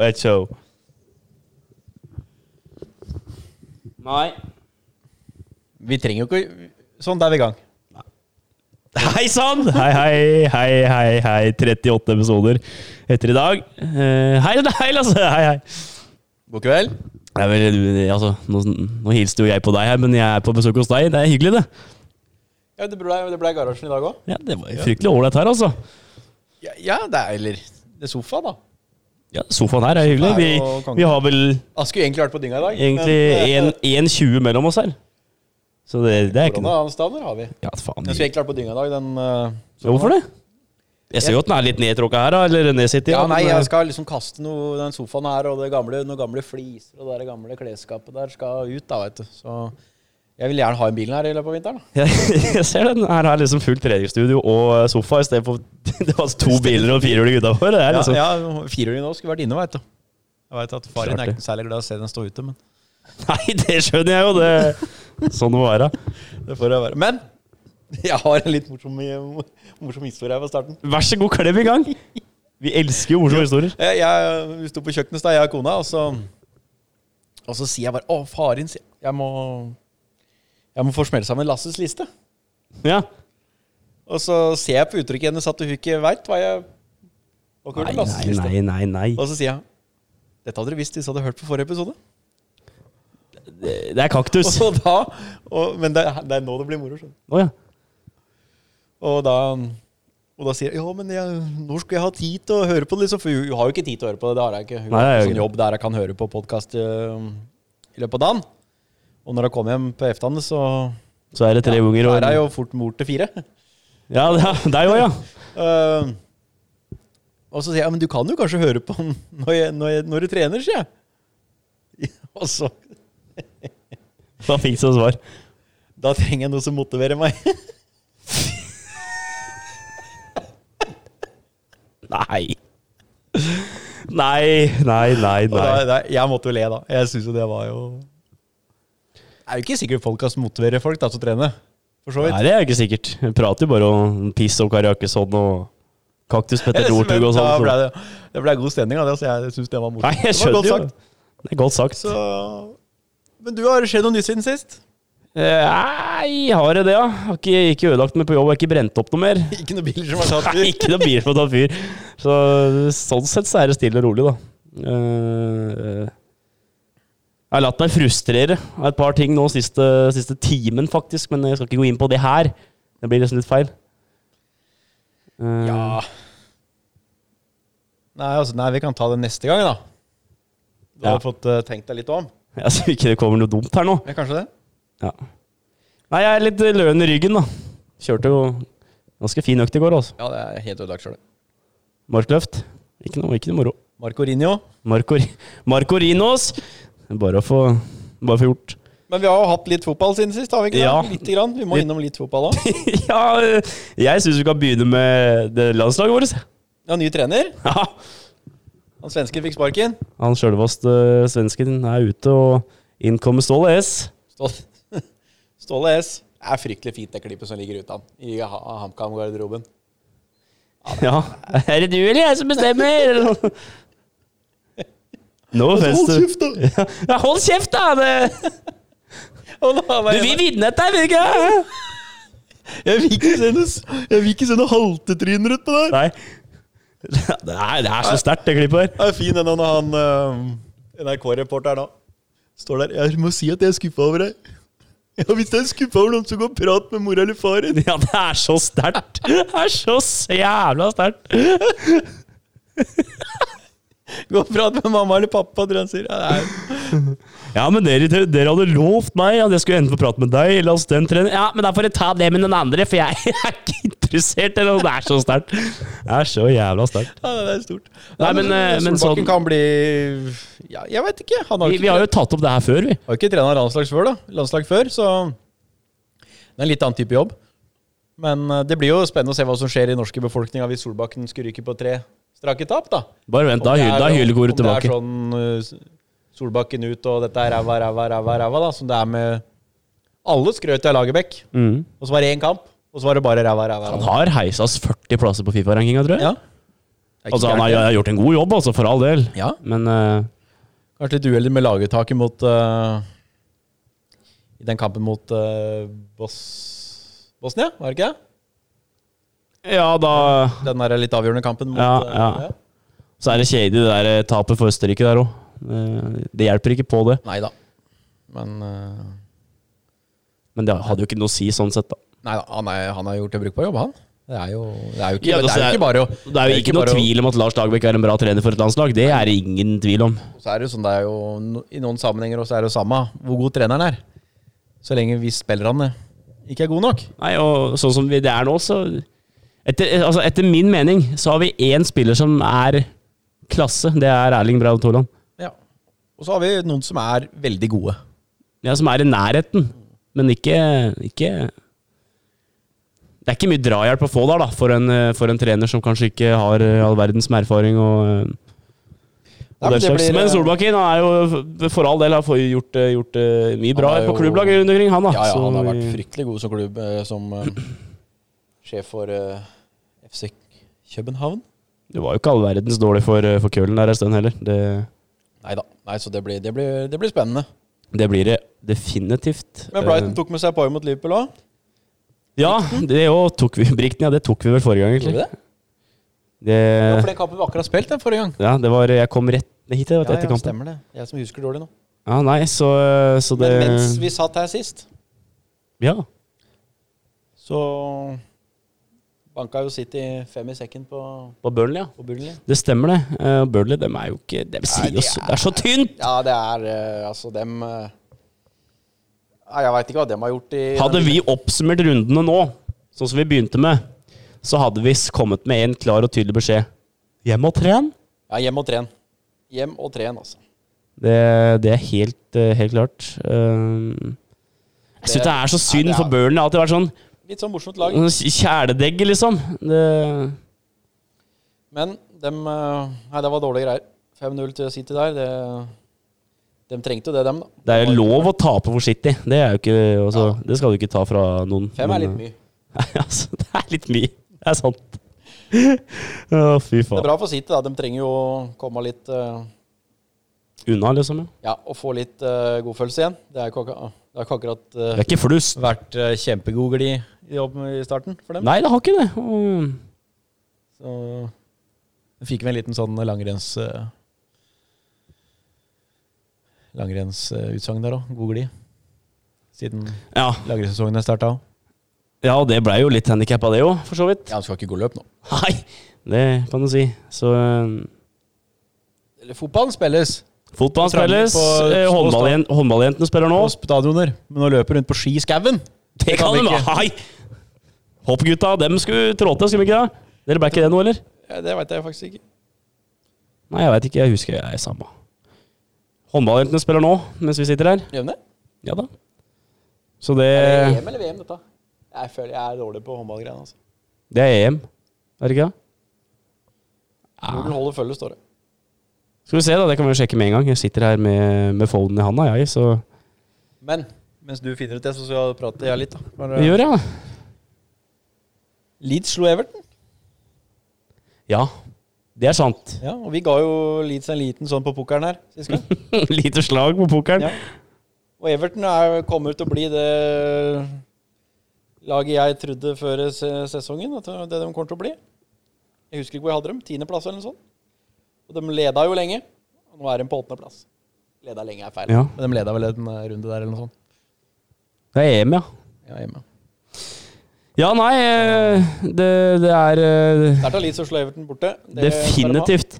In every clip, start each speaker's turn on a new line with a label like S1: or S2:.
S1: Echt zo.
S2: Nei.
S3: Vi trenger jo ikke Sånn, da er vi i gang.
S1: Hei sann! Hei, hei, hei, hei, hei. 38 episoder etter i dag. Eh, hei, det er deg, Lasse! Hei, hei.
S3: God kveld.
S1: Det er vel, du- altså, nå, nå hilste jo jeg på deg her, men jeg er på besøk hos deg. Det er hyggelig, det.
S3: Ja, det ble, det ble garasjen i dag òg.
S1: Ja, Det var jo fryktelig ålreit her, altså.
S3: Ja, ja, det er eller Det er sofa, da.
S1: Ja, Sofaen her er hyggelig. Vi, vi har vel
S3: Han skulle egentlig vært på dynga i dag. eh,
S1: egentlig 1,20 mellom oss her. Så det, det er ikke noe
S3: Standard har vi.
S1: Ja, faen.
S3: Den skulle egentlig vært på dynga i dag, den eh,
S1: Ja, Hvorfor det? Jeg ser jo at den er litt nedtråkka her, da. Eller nedsittig.
S3: Ja, nei,
S1: men-
S3: jeg skal liksom kaste noe Den sofaen her og det gamle, noen gamle fliser og det der gamle klesskapet der skal ut, da, vet du. Så jeg vil gjerne ha en bil her i løpet av vinteren. da.
S1: Jeg, jeg ser den her har liksom fullt treningsstudio og eh, sofa i stedet for det var altså to biler og firehjuling utafor. Det er liksom
S3: ja, ja firehjuling nå skulle vært inne, veit du. Jeg veit at faren
S1: Klart det.
S3: noe særlig glad i å se den stå ute, men
S1: Nei, det skjønner jeg jo! det Sånn må være.
S3: det får jeg være. Men jeg har en litt morsom, morsom historie her på starten.
S1: Vær så god, klem i gang! Vi elsker jo morsomme historier.
S3: Jeg, Eh, jeg, vi sto på kjøkkenet i stad, jeg og kona, og så, og så sier jeg bare Å, faren, sier jeg. Jeg må, jeg må få smelle sammen Lasses liste.
S1: Ja.
S3: Og så ser jeg på uttrykket hennes at hun ikke veit hva jeg hva
S1: Nei,
S3: kommer til Lasses
S1: nei,
S3: liste.
S1: nei. nei, nei.
S3: Og så sier jeg Dette hadde dere visst hvis dere hadde hørt på forrige episode.
S1: Det, det er kaktus. Å
S3: Og så da og, Men det, er- det er nå det blir moro. skjønner du.
S1: ja.
S3: Og da og da sier jeg ja, men jeg, når skal jeg ha tid til å høre på det? liksom? For hun hun har jo ikke tid til å høre på det. Det har jeg ikke. Hun
S1: Nei,
S3: har
S1: det er
S3: ikke
S1: jo
S3: sånn jobb der jeg kan høre på podkast i løpet av dagen. Og når jeg kommer hjem på eftermiddagen, så
S1: Så er det tre unger og
S3: er jeg jo fort mor til fire.
S1: Ja, det er deg òg, ja.
S3: Eh, og så sier jeg ja, men du kan jo kanskje høre på den når, jeg, når, jeg, når du trener, sier jeg. Og så
S1: Da fikk du svar.
S3: Da trenger jeg noe som motiverer meg.
S1: Nei. Nei, nei, nei.
S3: Og da,
S1: nei.
S3: da, jeg måtte jo le, da. Jeg syns jo det var jo Det er jo ikke sikkert folk som motiverer folk da til å trene. For så vidt.
S1: Nei, det er jo ikke sikkert. Vi prater jo bare om piss og karakesånn og kaktus Petter Northug og
S3: Men da
S1: sånn.
S3: ble
S1: så-
S3: det, det ble god stemning, da. Så jeg syns det var morsomt.
S1: Nei, jeg
S3: det var
S1: skjønner
S3: godt
S1: jo.
S3: sagt.
S1: Det er godt sagt.
S3: Så, men du har skjedd noe nytt siden sist?
S1: Eh, Nei, har jeg det, ja? Har ikke, ikke ødelagt meg på jobb, har ikke brent opp noe mer.
S3: Ikke noen biler som har tatt
S1: Nei, ikke noe bil som tar fyr. Så sånn sett så er det stille og rolig, da. Eh, eh, jeg har latt meg frustrere av et par ting nå siste, siste timen, faktisk. Men jeg skal ikke gå inn på det her. Det blir nesten litt feil. Eh,
S3: Ja. Nei, altså, nei, vi kan ta det neste gang, da. Du
S1: Ja.
S3: har fått eh, tenkt deg litt om.
S1: ja, Så ikke det kommer noe dumt her nå.
S3: Ja, kanskje det?
S1: Ja. Nei, jeg er litt eh, løen i ryggen, da. Kjørte jo ganske fin økt i går, altså.
S3: Ja, det er helt ødelagt sjøl.
S1: Markløft. Ikke noe, ikke noe moro.
S3: Marco Rinio.
S1: Marco, Marco Rinos. Bare å få, bare å få gjort.
S3: Men vi har jo hatt litt fotball siden sist, har vi ikke?
S1: Ja.
S3: det? Litt grann. Vi må
S1: Litt.
S3: innom litt fotball òg.
S1: ja, eh, jeg syns vi kan begynne med det landslaget vårt. jeg.
S3: Ja, ny trener.
S1: Ja.
S3: Han svensken fikk sparken.
S1: Han sjølveste svensken er ute, og inn kommer Ståle S.
S3: Ståle, Ståle S. Det er fryktelig fint, det klippet som ligger ute av han i Ha- HamKam-garderoben.
S1: Ja. Er det du eller jeg som bestemmer? Eller noe. No offense to-
S3: kjeft, da!
S1: Ja, hold kjeft, da! Det.
S3: Og da var
S1: Du
S3: jeg-
S1: vil vinne dette, vil du ikke?
S3: Jeg vil ikke se noe, jeg vil ikke se noe haltetryner ut på der.
S1: Nei. Det er, det er så sterkt, det klippet her.
S3: Det er fin den når han eh, NRK-reporteren nå står der. Jeg må si at jeg er skuffa over deg. Ja, hvis jeg er skuffa over noen, så gå og prat med mora eller faren.
S1: Ja, det er så sterkt. Det er så s- jævla sterkt.
S3: Gå og prat med mamma eller pappa, tror jeg han sier. Ja, det
S1: Ja, men dere, dere hadde lovt meg at jeg skulle enten få prate med deg eller hos den treneren. Ja, men da får jeg ta det med noen andre, for jeg er ikke interessert. Eller, noe. det er så sterkt. Det er så jævla sterkt.
S3: er, ja, det er stort.
S1: Nei, men, eh, men
S3: Solbakken
S1: sånn-
S3: kan bli ja, Jeg veit ikke. Han har
S1: Vi,
S3: jo
S1: vi
S3: ikke,
S1: har jo tatt opp det her før, vi.
S3: har jo ikke trena landslag før, da. landslag før, så det er en litt annen type jobb. Men eh, det blir jo spennende å se hva som skjer i den norske befolkninga hvis Solbakken skulle ryke på tre strake tap, da.
S1: Bare vent, da
S3: Om det
S1: hyl-
S3: er-
S1: da er hylekoret
S3: om-
S1: tilbake.
S3: Om det er sånn uh, Solbakken ut og dette er ræva, ræva, ræva, ræva, da, som det er med Alle skrøt av Lagerbäck,
S1: Mm.
S3: og så var det én kamp, og så var det bare ræva, ræva.
S1: Han
S3: ræva.
S1: har heisa oss 40 plasser på Fifa-rankinga, tror jeg.
S3: Ja. Det er ikke
S1: Altså, han
S3: gærent,
S1: har,
S3: det.
S1: har gjort en god jobb, altså, for all del.
S3: Ja,
S1: Men eh,
S3: Kanskje litt uheldig med laguttaket mot eh, I den kampen mot eh, Bos Bosnia, var det ikke det?
S1: ja, da
S3: Den der litt avgjørende kampen mot
S1: Ja,
S3: eh,
S1: ja. Så er det kjedelig, det der eh, tapet for Østerrike der òg. Det hjelper ikke på, det.
S3: Nei da. Men eh,
S1: Men det hadde jo ikke noe å si sånn sett, da.
S3: Nei da, han, er, han har gjort en brukbar jobb, han. Det er jo, det er jo, ikke,
S1: Ja,
S3: det
S1: altså,
S3: er
S1: det
S3: jo
S1: er-
S3: ikke bare å
S1: Det er jo ikke noe
S3: bare å-
S1: tvil om at Lars Dagbæk er en bra trener for et landslag. Det er det ingen tvil om.
S3: Så er det jo sånn, det er jo no, I noen sammenhenger også er det jo samme hvor god treneren er. Så lenge vi spillerne ikke er gode nok.
S1: Nei, og sånn som vi, det er nå, så etter, altså, etter min mening så har vi én spiller som er klasse. Det er Erling Braut Haaland.
S3: Ja. Og så har vi noen som er veldig gode.
S1: Ja, som er i nærheten, men ikke, ikke Det er ikke mye drahjelp å få der, da, for en, eh, for en trener som kanskje ikke har eh, all verdens med erfaring og eh,
S3: Nei,
S1: Og den
S3: men det
S1: slags.
S3: blir,
S1: men
S3: eh,
S1: Solbakken han er jo for all del har fått gjort, eh, gjort eh, mye bra
S3: har
S1: på
S3: jo-
S1: klubblag rundt omkring, han da.
S3: Ja, ja,
S1: Så
S3: han har
S1: vi-
S3: vært fryktelig god som klubb, eh, som eh, sjef for eh, FC København.
S1: Det var jo ikke all verdens dårlig for, eh, for Kølen der en stund heller. Det,
S3: Nei da. Nei, så det blir, det, blir, det blir spennende.
S1: det blir det definitivt.
S3: Men Brighton
S1: Eh,
S3: tok med seg poeng mot Liverpool òg.
S1: Ja, det jo tok vi Brikten, ja, det tok vi vel forrige gang,
S3: Gjorde
S1: egentlig.
S3: de det? Ja, for
S1: Det,
S3: den kampen vi akkurat spilte den forrige gang.
S1: ja, det var Jeg kom rett hit jeg, vet, du,
S3: Ja,
S1: etter
S3: ja,
S1: kampen.
S3: stemmer det. Jeg som husker dårlig nå.
S1: Ja, nei, så, eh, så det
S3: Men mens vi satt her sist,
S1: Ja.
S3: så banka jo City fem i sekken på,
S1: På Burnley, ja.
S3: på Burnley.
S1: Det stemmer, det. Eh, Burnley, dem er jo ikke Det, sier
S3: de
S1: jo så- det er så tynt!
S3: Ja, det er eh, altså dem eh, Nei, Jeg veit ikke hva dem har gjort i
S1: Hadde vi oppsummert rundene nå, sånn som vi begynte med, så hadde vi s- kommet med en klar og tydelig beskjed. Hjem og tren.
S3: Ja, hjem og tren. Hjem og tren, altså.
S1: Det, det er helt, eh, helt klart. Eh, jeg syns
S3: Det-
S1: det er så synd
S3: det er-
S1: for Burnley. Det har alltid vært sånn
S3: Litt sånn morsomt lag.
S1: sånn kjæledegge, liksom. Det,
S3: Men dem eh, Nei, det var dårlige greier. 5-0 til City der. Det, dem trengte jo det, dem, da.
S1: det er jo lov å tape forsiktig. Det er jo ikke altså, Det skal du ikke ta fra noen.
S3: Fem er
S1: men,
S3: litt mye.
S1: Nei, altså, det er litt mye. Det er sant. Å, fy
S3: Det er
S1: faen.
S3: bra for City, da. De trenger jo å komme litt eh,
S1: Unna, liksom. Ja.
S3: Ja, å få litt eh, godfølelse igjen. Det er jo ikke akkurat, det er ikke akkurat eh,
S1: Det er ikke flust.
S3: vært eh, kjempegod glid i jobb i starten for dem.
S1: Nei, det har ikke det. Og
S3: Så de fikk vi en liten sånn langrenns... Uh, Langrennsutsagn eh, der òg. God glid. Siden
S1: Ja,
S3: langrennssesongen starta òg.
S1: ja og det blei jo litt handikap av det òg, for så vidt.
S3: Ja, han skal ikke gå løp nå.
S1: Nei, det kan du si. Så eh,
S3: Eller, fotballen spilles
S1: fotball
S3: Framme
S1: spilles,
S3: på-
S1: eh,
S3: på
S1: håndballjen- håndballjentene spiller nå.
S3: på stadioner, men å løpe rundt på ski i skauen
S1: Det kan
S3: vi
S1: de
S3: ikke.
S1: Nei! Hoppgutta, dem skulle trå til, skulle de ikke det? Dere ble ikke det nå, eller?
S3: Ja, det veit jeg faktisk ikke.
S1: Nei, jeg veit ikke. Jeg husker jeg er samme. Håndballjentene spiller nå, mens vi sitter her.
S3: Gjør de det?
S1: Ja da. Så det
S3: Er det EM eller VM, dette? Jeg føler jeg er dårlig på håndballgreiene. altså.
S1: Det er EM, er det ikke det?
S3: Google holder følge, står det.
S1: Skal vi se, da. Det kan vi jo sjekke med en gang. Jeg sitter her med, med folden i handa, jeg, så
S3: Men mens du finner ut det, så skal jeg prate jeg litt. da. Bare-
S1: Det gjør jeg, da.
S3: Leeds slo Everton,
S1: Ja. Det er sant.
S3: Ja, og vi ga jo Leeds en liten sånn på pokeren her sist gang.
S1: Lite slag på pokeren.
S3: Ja. Og Everton er, kommer til å bli det laget jeg trodde før se- sesongen at det det de kommer til å bli. Jeg husker ikke hvor jeg hadde dem. Tiendeplass eller noe sånt. Og de leda jo lenge. Og nå er de på åttendeplass. Leda lenge er feil.
S1: Ja.
S3: Men de leda vel en eh, runde der eller noe sånt.
S1: Det er EM, ja.
S3: Ja, hjemme.
S1: Ja, nei, eh, det, det er eh,
S3: Der tar Leeds og slår Everton borte. Det
S1: definitivt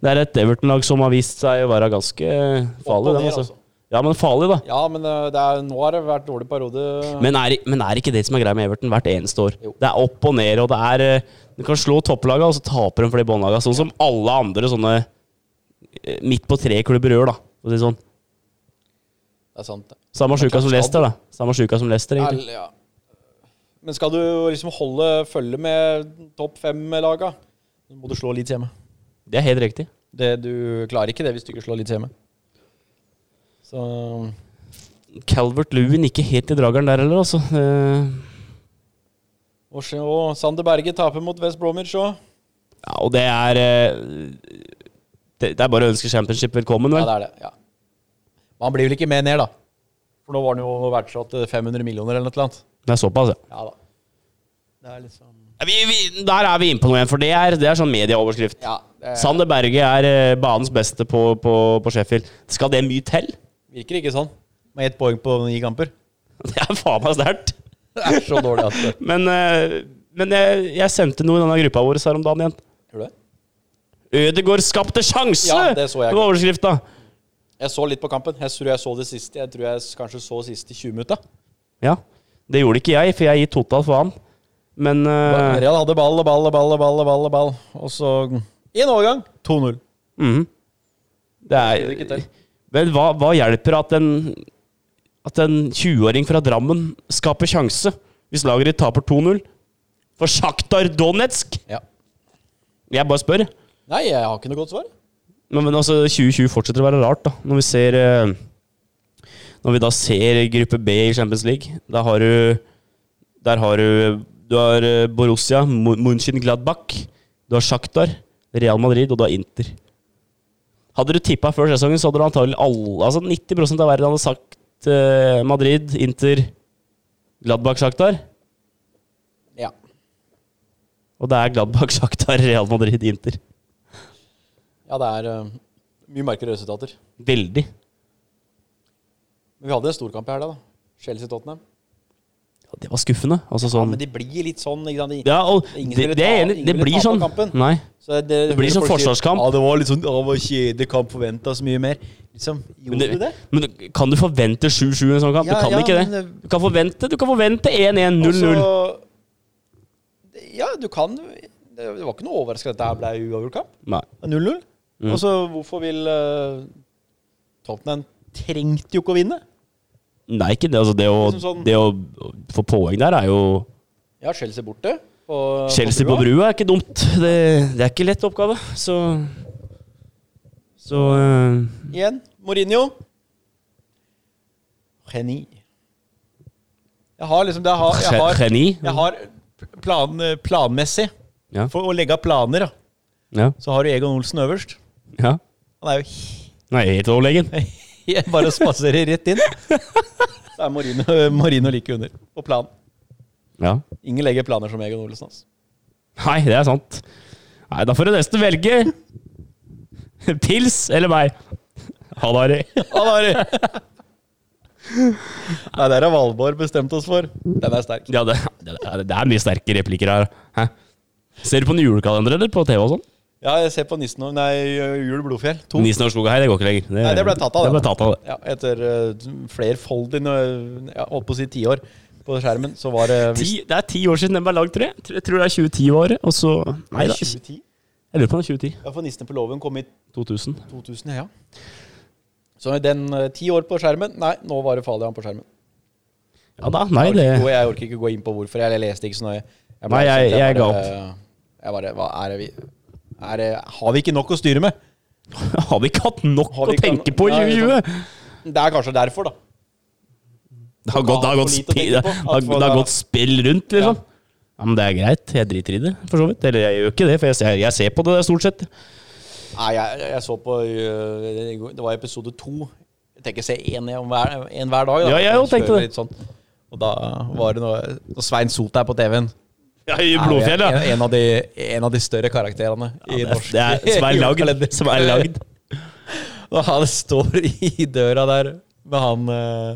S1: Det er et Everton-lag som har vist seg å være ganske eh,
S3: Opp og
S1: farlig.
S3: ned,
S1: Dem,
S3: altså.
S1: altså. Ja, men farlig, da.
S3: Ja, men eh, det er, nå har det vært dårlig periode.
S1: Men er, men er ikke det som er greia med Everton hvert eneste år?
S3: Jo.
S1: Det er opp og ned, og det er eh, Du kan slå topplaga, og så taper de for de båndlaga. Sånn som alle andre sånne eh, midt på tre-klubber gjør, da. For å si det sånn.
S3: Det er sant, det.
S1: Samme sjuka som
S3: klart,
S1: Leicester, da. Samme sjuka som Leicester, egentlig.
S3: Ærlig, ja. Men skal du liksom holde følge med topp fem-laga, så må du slå Leeds hjemme.
S1: Det er helt riktig.
S3: Det, du klarer ikke det hvis du ikke slår Leeds hjemme. Så
S1: Calvert Lewin ikke helt i drageren der heller, altså. Eh,
S3: Og så- og Sander Berge taper mot West Bromwich òg.
S1: Ja, og det er eh, det, det er bare å ønske championship velkommen,
S3: Ja,
S1: vel?
S3: det er det. Ja. Men han blir vel ikke med ned, da. For nå var han jo verdsatt til 500 millioner eller noe eller annet.
S1: Det er såpass, ja.
S3: Ja da. Det er liksom
S1: Ja, Vi, vi, der er vi inne på noe igjen, for det er, det er sånn medieoverskrift.
S3: Ja, det
S1: Sander Berge er eh, banens beste på, på, på Sheffield. Skal det mye til?
S3: virker ikke sånn. Med ett poeng på ni kamper.
S1: Det er faen meg sterkt.
S3: Det er så dårlig at det
S1: Men, eh, men jeg, jeg sendte noe i denne gruppa vår her om dagen igjen.
S3: Gjør du det?
S1: Ødegaard skapte sjanse!
S3: Ja, det så jeg.
S1: Det var overskrifta.
S3: Jeg så litt på kampen. Jeg tror jeg så det siste. Jeg tror jeg s- kanskje så siste 20 minutta.
S1: Ja. Det gjorde ikke jeg, for jeg gir totalt faen. Men eh,
S3: Real hadde ball og ball og ball og ball og ball, og ball. Og så i en overgang 2-0.
S1: mhm. Det
S3: Det ikke
S1: er
S3: til.
S1: Vel, hva, hva hjelper at en At en 20-åring fra Drammen skaper sjanse hvis laget ditt taper 2-0? For Sjaktar Donetsk!
S3: Ja.
S1: Jeg bare spør.
S3: Nei, jeg har ikke noe godt svar.
S1: Men, men altså, 2020 fortsetter å være rart, da. Når vi ser eh, Når vi da ser gruppe B i Champions League, da har du Der har du Du har eh, Borussia, Mu- Mönchengladbach, du har Shakhtar, Real Madrid og du har Inter. Hadde du tippa før sesongen, så hadde du antagelig alle Altså 90 av verden hadde sagt eh, Madrid, Inter, Gladbach, Shakhtar.
S3: Ja.
S1: Og det er Gladbach, Shakhtar, Real Madrid, Inter.
S3: ja, det er eh, mye merkelige resultater.
S1: Veldig.
S3: Men vi hadde en storkamp i helga, da. Chelsea-Tottenham.
S1: Ja, Det var skuffende. Altså sånn
S3: Men de blir litt sånn, ikke sant. De,
S1: Ja, og
S3: Ingen
S1: det,
S3: ville
S1: det,
S3: ta-
S1: er enig,
S3: ingen
S1: det
S3: ville
S1: blir
S3: tape
S1: sånn.
S3: kampen.
S1: Nei.
S3: så det, det,
S1: blir sånn
S3: folk sier,
S1: forsvarskamp.
S3: Ja, det var litt sånn «Å, det var kjedelig kamp, forventa så mye mer. Liksom,
S1: Men,
S3: gjorde du
S1: det,
S3: det?
S1: men du- kan du forvente 7-7 i en sånn kamp?
S3: Ja,
S1: du kan
S3: ja,
S1: ikke det.
S3: men eh, det-
S1: Du kan forvente du kan forvente 1-1, 0-0.
S3: Og så- Altså, Ja, du kan Det var ikke noe overraskende at dette her ble uavgjort kamp.
S1: Nei.
S3: 0-0.
S1: Mm.
S3: Og så hvorfor vil eh, Tottenham trengte jo ikke å vinne?
S1: Nei, ikke det. Altså, det, å,
S3: Liksom sånn-
S1: det å få poeng der er jo
S3: Ja, Chelsea borte. På,
S1: Chelsea på brua er ikke dumt. Det, det er ikke lett oppgave. Så Så eh,
S3: Igjen Mourinho. Geni. Jeg har liksom det jeg har, jeg har,
S1: Geni.
S3: jeg har plan, eh, planmessig
S1: Ja.
S3: For å legge av planer, da,
S1: Ja.
S3: så har du Egon Olsen øverst.
S1: ja.
S3: Han er jo
S1: Nei, helt overlegen.
S3: bare å spasere rett inn. Så er Mourinho, Mourinho like under på plan.
S1: Ja.
S3: Ingen legger planer som Egon Olsen. Altså.
S1: Nei, det er sant. Nei, da får du nesten velge. Pils eller meg. Ha det, Harry.
S3: Han har Nei, det har Valborg bestemt oss for. Den er sterk.
S1: Ja, det, det, er- det er mye sterke replikker her. Hæ? Ser du på den julekalenderen eller på TV og sånn?
S3: Ja, jeg ser på Nissen og Nei, Jul Blodfjell. To.
S1: Nisen og skogen her, det går ikke lenger.
S3: Nei, det ble tatt av, det.
S1: ble tatt av det.
S3: Ja, etter uh, flerfoldig nå, Jeg holdt på å si tiår på skjermen, så var det
S1: Ti, det er ti år siden den ble lagd, tror jeg. Tror- Jeg tror det er 2010-året, og så Nei da.
S3: 2010.
S1: Jeg lurer på om det er 2010.
S3: Ja, for Nissen på låven kom i
S1: 2000.
S3: 2000, ja. ja. Så den eh, ti år på skjermen Nei, nå var det Falian på skjermen.
S1: Ja da, nei
S3: Jeg
S1: det
S3: orker ikke gå- Jeg orker ikke gå inn på hvorfor. Jeg, jeg leste ikke så nøye. Jeg
S1: Nei, jeg- jeg ga
S3: opp. Jeg bare Hva er det vi er det, Har vi ikke nok å styre med?
S1: Har vi ikke hatt nok
S3: Har
S1: å
S3: vi ikke
S1: tenke
S3: hatt-
S1: på i
S3: Nei,
S1: 2020?
S3: Det er kanskje derfor, da.
S1: Det har gått, det har
S3: for
S1: gått,
S3: lite
S1: spi,
S3: å tenke
S1: det
S3: på.
S1: har,
S3: At for
S1: det har
S3: da-
S1: gått spill rundt, liksom. Ja, men det er greit. Jeg driter i det, for så vidt. Eller jeg gjør ikke det, for jeg ser, jeg ser på det stort sett.
S3: Nei, jeg, jeg så på øh, Det var episode to. Jeg tenker se én om hver, en hver dag. Da.
S1: Ja, jeg jo
S3: Kjører
S1: tenkte det.
S3: litt Sånn. Og da var det noe Når Svein Sot er på TV-en
S1: Ja, I Blodfjell,
S3: er
S1: ja.
S3: jo en, en, av de, en av de større karakterene i
S1: Det
S3: norsk
S1: er, det er, som er lagd. Som er lagd.
S3: Når han står i døra der med han øh,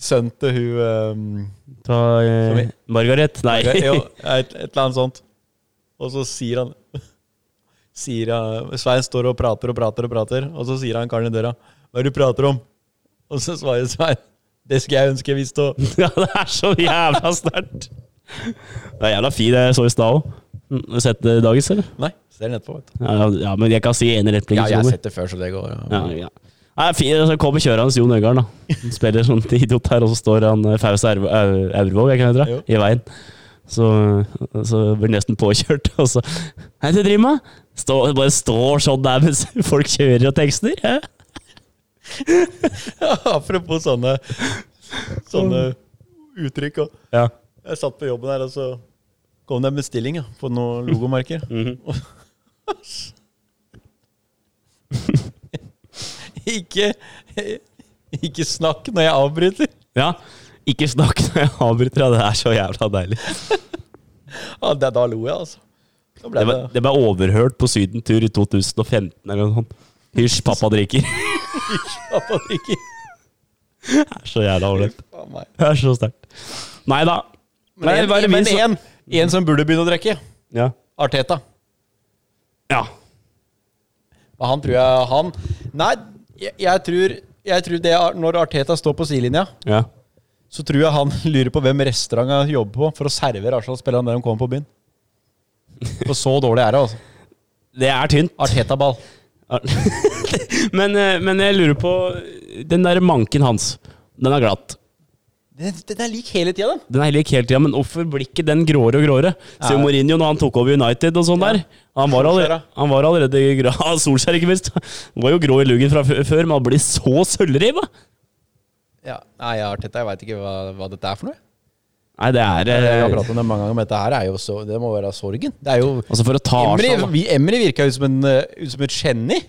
S3: sønnen til hun
S1: Ta eh, Margaret. Nei.
S3: øh, jo, et, et eller annet sånt. Og så sier han sier han, Svein står og prater og prater og prater, og så sier han karen i døra Hva er det du prater om? Og så svarer Svein Det skulle jeg ønske jeg visste òg.
S1: Ja, det er så jævla sterkt. Det er jævla fint, det jeg så i stad òg. Har du sett det i dagens, eller?
S3: Nei, ser den etterpå. Vet du.
S1: Ja, ja, men jeg kan si en replikk.
S3: Ja, jeg har
S1: som
S3: sett det før, så det går.
S1: kommer. sånn, ja, ja. Nei, det er fint, så kommer kjørende Jon Øgarden, da. Han spiller sånn idiot her, og så står han eh, Faust Erv- Au- Aurvåg, jeg kan hete det, i veien. Så, så blir han nesten påkjørt, og så Hei, du driver med? Stå, bare står sånn der mens folk kjører og tekster. hæ?
S3: Apropos sånne Sånne uttrykk. Og
S1: Ja.
S3: jeg satt på jobben her, og så Kom det en bestilling ja, på noen logomerker?
S1: Mm-hmm.
S3: ikke, ikke snakk når jeg avbryter!
S1: Ja. Ikke snakk når jeg avbryter, ja. Det er så jævla deilig.
S3: Ja, det, da lo jeg, altså. Da ble
S1: Det ble,
S3: det,
S1: det ble overhørt på sydentur i 2015 eller noe sånt. Hysj, pappa drikker.
S3: Faen meg.
S1: Det er så jævla ålreit. Det er så sterkt. Nei da.
S3: Men
S1: Nei,
S3: en-
S1: hva er det vi
S3: Men
S1: som-
S3: en, en som burde begynne å drikke.
S1: Ja.
S3: Arteta.
S1: ja.
S3: Og Han tror jeg han Nei, jeg, jeg tror, jeg tror det er, når Arteta står på sidelinja,
S1: ja.
S3: så tror jeg han lurer på hvem restaurant han jobber på for å servere Arsenal-spillerne der de kommer på byen. For så dårlig er det, altså.
S1: Det er tynt.
S3: Arteta-ball.
S1: men, eh, men jeg lurer på Den der manken hans, den er glatt.
S3: Den, den er lik hele tida, den.
S1: Den er lik hele tida, men hvorfor blir ikke den gråere og gråere? Se
S3: Ja.
S1: Mourinho når han tok over United og sånn der. Han var,
S3: Solskjær,
S1: allerede,
S3: da.
S1: han var allerede grå. Ja, Solskjær, ikke minst. Han var jo grå i luggen fra fø- før, men han blir så sølvriva!
S3: Ja. Nei, Arteta, jeg veit ikke hva, hva dette er for noe.
S1: Nei, det er
S3: Jeg har
S1: eh,
S3: pratet om det mange ganger, men dette her er jo så, det må være sorgen. Det er jo
S1: Altså, for å ta
S3: Emry,
S1: Arsenal da.
S3: vi, Emry virka ut som, en, eh, ut som et geni.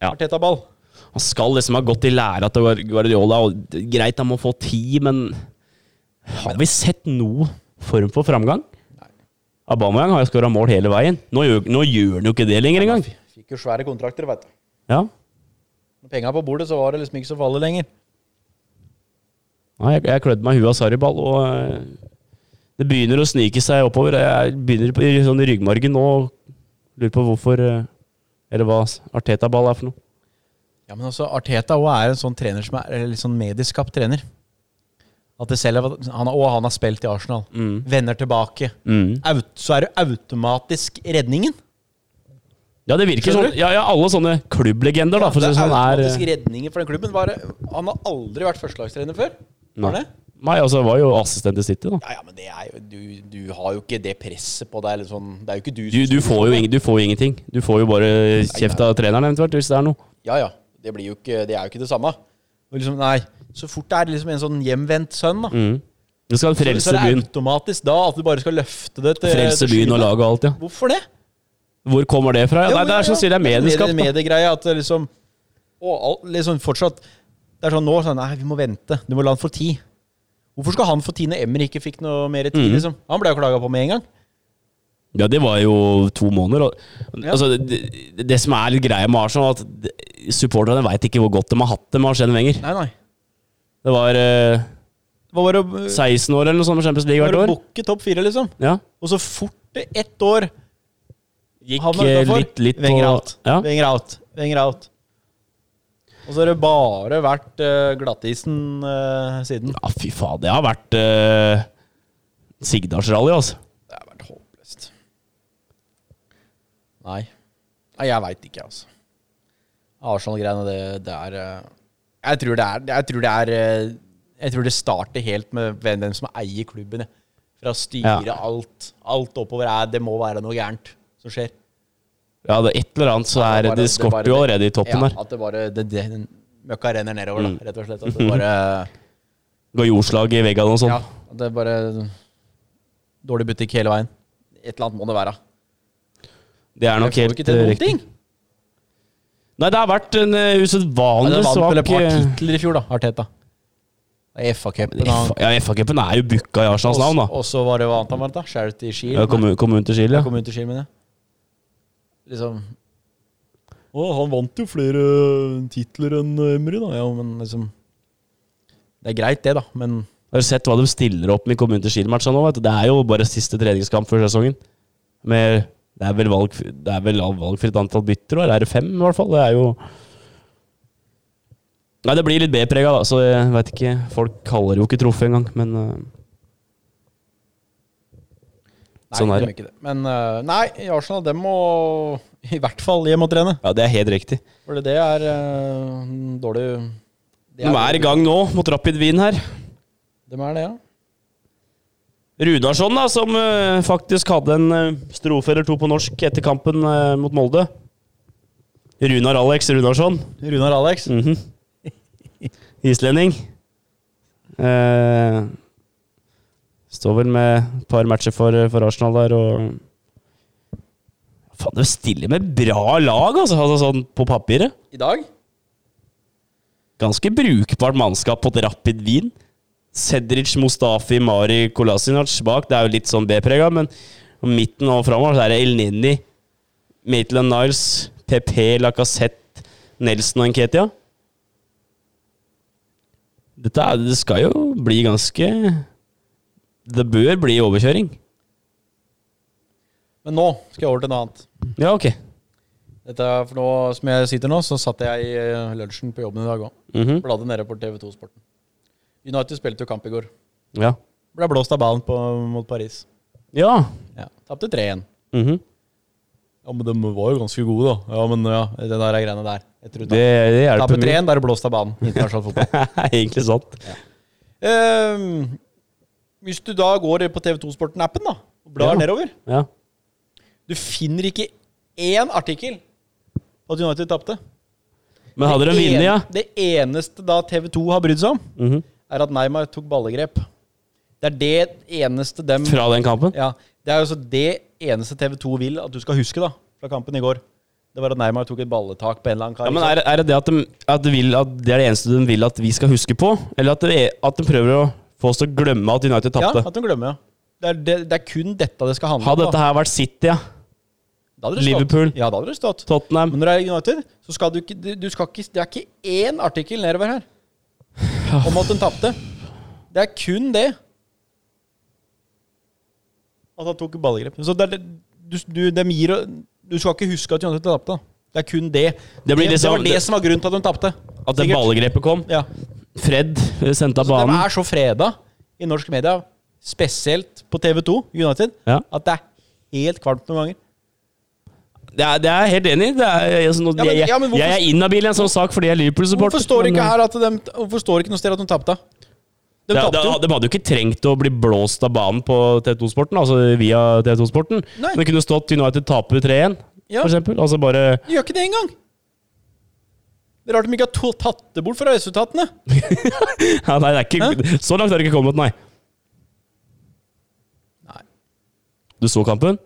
S1: Ja.
S3: Arteta-ball.
S1: Mm. Han skal liksom ha gått i læra til Guar- Guardiola, og det- greit, han må få ti, men Har vi sett noe form for framgang? Aubameyang har jo skåra mål hele veien. Nå gjør, nå gjør han jo ikke det lenger engang.
S3: Fikk jo svære kontrakter, veit du.
S1: Ja.
S3: Med penga på bordet, så var det liksom ikke så farlig lenger.
S1: Nei, jeg, jeg klødde meg i huet av sarriball, og eh, det begynner å snike seg oppover. Jeg begynner på, i sånn i ryggmargen nå og lurer på hvorfor eh, Eller hva Arteta-ball er for noe.
S3: Ja, men også Arteta også er en sånn trener som er eller litt sånn medieskapt trener. At det selv er, han, har- og han har spilt i Arsenal.
S1: Mm.
S3: Vender tilbake. Aut, så er det automatisk redningen.
S1: Ja, det virker
S3: Skjønner
S1: sånn. Ja, ja, alle sånne klubblegender, da. For å si
S3: det er
S1: sånn er
S3: automatisk
S1: eh,
S3: redningen for den klubben. Bare, han har aldri vært førstelagstrener før. Har
S1: Nei,
S3: det?
S1: nei altså, var jo assistent i City, da.
S3: Ja, ja, men det er jo, du, du har jo ikke det presset på deg. Eller sånn. Det er jo ikke du
S1: Du, du, får jo ing, du får jo ingenting. Du får jo bare kjeft av treneren, eventuelt, hvis det er noe.
S3: Ja, ja. Det, blir jo ikke, det er jo ikke det samme. Og Liksom, nei, så fort det er liksom en sånn hjemvendt sønn, da.
S1: Mm. Du skal
S3: så
S1: frelse
S3: er det
S1: byen.
S3: automatisk da at du bare skal løfte det til
S1: Frelse
S3: til
S1: byen og
S3: skyene.
S1: laget og alt, ja.
S3: Hvorfor det?
S1: Hvor kommer det fra? Ja, nei, det er som sier, det er medieskapt. da.
S3: Mediegreia at det liksom Og alt, liksom fortsatt Det er sånn nå sånn, Nei, vi må vente. Du må la han få tid. Hvorfor skal han få tid når Emmer ikke fikk noe mer tid?
S1: Mhm.
S3: liksom? Han ble jo klaga på med en gang.
S1: Ja, det var jo to måneder. og- Altså, det, det- det som er litt greia med Arsenal, at de- supporterne veit ikke hvor godt de har hatt det med Arsene Wenger.
S3: Nei, nei.
S1: Det var eh,
S3: Det var bare å- eh,
S1: 16 år eller noe sånt med Champions League
S3: bare å
S1: hvert år.
S3: bukke topp fire, liksom.
S1: Ja.
S3: Og så fort det ett år
S1: Gikk
S3: havna
S1: eh,
S3: utenfor,
S1: litt, litt
S3: Wenger
S1: på
S3: out.
S1: ja.
S3: Wenger out. Wenger out. Og så har det bare vært eh, glattisen eh, siden.
S1: ja, fy faen. Det har vært uh, Sigdalsrally, altså.
S3: Det har vært håpløst. Nei. Nei, jeg veit ikke, altså. Arsenal-greiene, det, det er eh, Jeg tror det er Jeg tror det er eh, Jeg tror det starter helt med hvem hvem som eier klubben. jeg. Fra styret,
S1: Ja.
S3: alt. Alt oppover er Det må være noe gærent som skjer.
S1: Ja, det er et eller annet så
S3: At
S1: er
S3: bare-
S1: det skorter jo
S3: bare-
S1: allerede i toppen Mm.
S3: ja,
S1: der.
S3: At det bare det, det, den Møkka renner nedover, da, rett og slett. At det bare
S1: Går jordslag i veggene og sånn.
S3: Ja, at det bare Dårlig butikk hele veien. Et eller annet må det være.
S1: Det er nok
S3: Jeg får
S1: helt
S3: ikke til
S1: eh,
S3: noen
S1: riktig.
S3: ting.
S1: Nei, det har vært en eh,
S3: Ja,
S1: usedvanlig
S3: den vant vel
S1: svak
S3: et par
S1: eh,
S3: titler i fjor, da, Arteta. Det er FA-cupen.
S1: F- Ja, FA-cupen er jo booka i Arslands navn, da.
S3: Og så var det hva annet han vant, da? Charity Shield.
S1: Ja, Kommun kommun til Chile.
S3: Nei,
S1: ja.
S3: Kommune til Shield, mener jeg. Liksom Å, han vant jo flere titler enn Emry, da. Ja, men liksom Det er greit, det, da, men
S1: Har du sett hva de stiller opp med i kommunen til Chile-matcha nå? Vet du? Det er jo bare siste treningskamp før sesongen. Med, det, er vel valg, det er vel valgfritt antall bytter, eller er det fem i hvert fall? Det er jo Nei, det blir litt B-prega, da, så jeg veit ikke. Folk kaller det jo ikke troffe engang, men eh,
S3: Nei,
S1: Sånn er
S3: de
S1: det.
S3: Ikke det. Men eh, nei, i Arsenal, dem må i hvert fall hjem og trene.
S1: Ja, det er helt riktig.
S3: For det er eh, dårlig det
S1: De er i gang nå, mot Rapid Wien her.
S3: De er det, ja.
S1: Runarsson, da, som eh, faktisk hadde en eh, strofe eller to på norsk etter kampen eh, mot Molde. Runar Alex Runarsson.
S3: Runar Alex.
S1: Mhm. Islending. Eh, Står vel med et par matcher for, eh, for Arsenal der, og Faen, du stiller med bra lag, altså, altså sånn på papiret.
S3: I dag?
S1: Ganske brukbart mannskap på et Rapid Wien. Cedric, Mustafi, Mari, Kolasinac bak. Det er jo litt sånn B-prega, men om midten og framover så er det El Nini, Maitland Niles, PP, Lacassette, Nelson og Nketia. Dette er, det skal jo bli ganske Det bør bli overkjøring.
S3: Men nå skal jeg over til noe annet.
S1: Ja, ok.
S3: Dette er for nå, Som jeg sitter nå, så satt jeg i eh, lunsjen på jobben i dag òg.
S1: Mhm.
S3: Bladde nede på TV2 Sporten. United spilte jo kamp i går.
S1: Ja.
S3: Ble blåst av ballen på, mot Paris.
S1: Ja.
S3: Ja. Tapte 3-1.
S1: Mhm.
S3: Ja, men de var jo ganske gode, da. Ja, men ja, det der er greiene der. Jeg tror
S1: Det, det hjelper
S3: Tapper
S1: mye.
S3: 3-1, da er det blåst av banen. i Internasjonal fotball.
S1: Det er egentlig sant.
S3: Ehm, hvis du da går på TV2 Sporten-appen da, og blar
S1: Ja.
S3: nedover
S1: Ja.
S3: Du finner ikke én artikkel på at United tapte.
S1: Men hadde de
S3: Det en-
S1: vunnet, ja?
S3: Det eneste da TV2 har brydd seg om,
S1: Mhm.
S3: er at Neymar tok ballegrep. Det er det eneste dem
S1: Fra den kampen?
S3: Ja, Det er jo så det eneste TV2 vil at du skal huske da, fra kampen i går. Det var at Neymar tok et balletak på en eller annen kar.
S1: Ja, men
S3: ikke sant?
S1: er, er det det at, de, at, de vil, at det er det eneste de vil at vi skal huske på? Eller at, det er, at de prøver å få oss til å glemme at United
S3: ja,
S1: tapte?
S3: at de glemmer, ja. Det er, det, det er kun dette det skal handle
S1: Hadde
S3: om. da.
S1: dette her vært City, ja.
S3: Da hadde det stått.
S1: Liverpool.
S3: Ja, da hadde det stått.
S1: Tottenham.
S3: Men når det er United, så skal du ikke, du, du skal ikke Det er ikke én artikkel nedover her om at hun tapte. Det er kun det. At han tok ballgrep. Så det er, det- du, du, dem gir, du skal ikke huske at United tapte. Det er kun det.
S1: Det blir liksom-
S3: var det, som var grunnen til at de tapte.
S1: At det
S3: Sikkert.
S1: ballgrepet kom.
S3: Ja.
S1: Fred eh, sendte
S3: Så
S1: av
S3: de
S1: banen.
S3: er så freda i norsk media, spesielt på TV2 United,
S1: Ja.
S3: at det er helt kvalmt noen ganger.
S1: Det er, det er jeg helt enig i. Det er- Jeg, sånn,
S3: Ja, men-
S1: jeg,
S3: ja, men
S1: jeg,
S3: hvorfor-
S1: jeg er inhabil i en sånn sak fordi jeg er Liverpool-supporter.
S3: Hvorfor står det
S1: men,
S3: ikke
S1: eh,
S3: her at de, hvorfor står det ikke noe sted at de tapte? De
S1: det-
S3: tapte jo.
S1: det- De hadde jo ikke trengt å bli blåst av banen på TV2-sporten, altså via TV2-sporten.
S3: Nei.
S1: Men Det kunne stått United taper 3-1,
S3: Ja.
S1: for eksempel. Altså bare
S3: De gjør ikke det engang! Det er rart de ikke har to- tatt det bort fra resultatene.
S1: ja, Nei, det er ikke Så langt har det ikke kommet, nei.
S3: Nei.
S1: Du så kampen?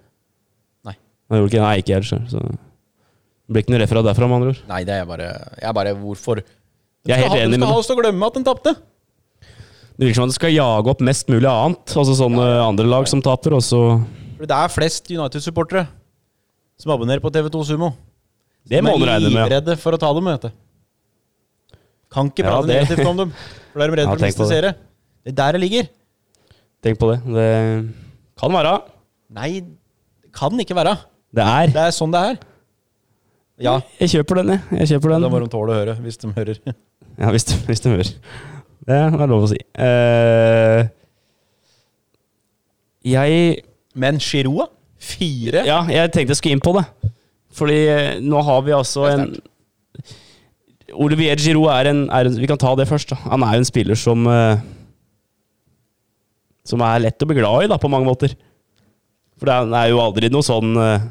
S3: Nei.
S1: Nei, gjorde ikke, nei ikke jeg heller, så Det blir ikke noe referat derfra, med andre ord.
S3: Nei, det er bare, jeg er bare Hvorfor? De
S1: Jeg er
S3: skal
S1: helt
S3: ha-
S1: enig
S3: De
S1: med
S3: skal ha
S1: deg.
S3: oss til å glemme at de tapte.
S1: Det virker som at du skal jage opp mest mulig annet. Altså sånne andre lag som taper, og så
S3: For det er flest United-supportere som abonnerer på TV2 Sumo.
S1: Det må du regne med. ja.
S3: livredde for å ta dem, vet du. Kan ikke
S1: Ja,
S3: prate
S1: det-
S3: negativt om dem. For da er de redde
S1: Ja,
S3: for å
S1: tenk
S3: miste
S1: på
S3: seere. Det er der det ligger.
S1: Tenk på det. Det kan være.
S3: Nei, det kan ikke være.
S1: Det er.
S3: Det er sånn det er. Ja.
S1: Jeg kjøper den, jeg. Jeg kjøper
S3: Da må
S1: den.
S3: de tåle å høre, hvis de hører.
S1: Ja, hvis du, hvis du hører. Det er lov å si. Eh, jeg
S3: Men Giroa? Fire?
S1: Ja, jeg tenkte jeg skulle inn på det. Fordi eh, nå har vi altså
S3: Det er
S1: en Olivier Giroud er en, er en Vi kan ta det først. da. Han er jo en spiller som eh, Som er lett å bli glad i, da, på mange måter. For det er- han er jo aldri noe sånn eh,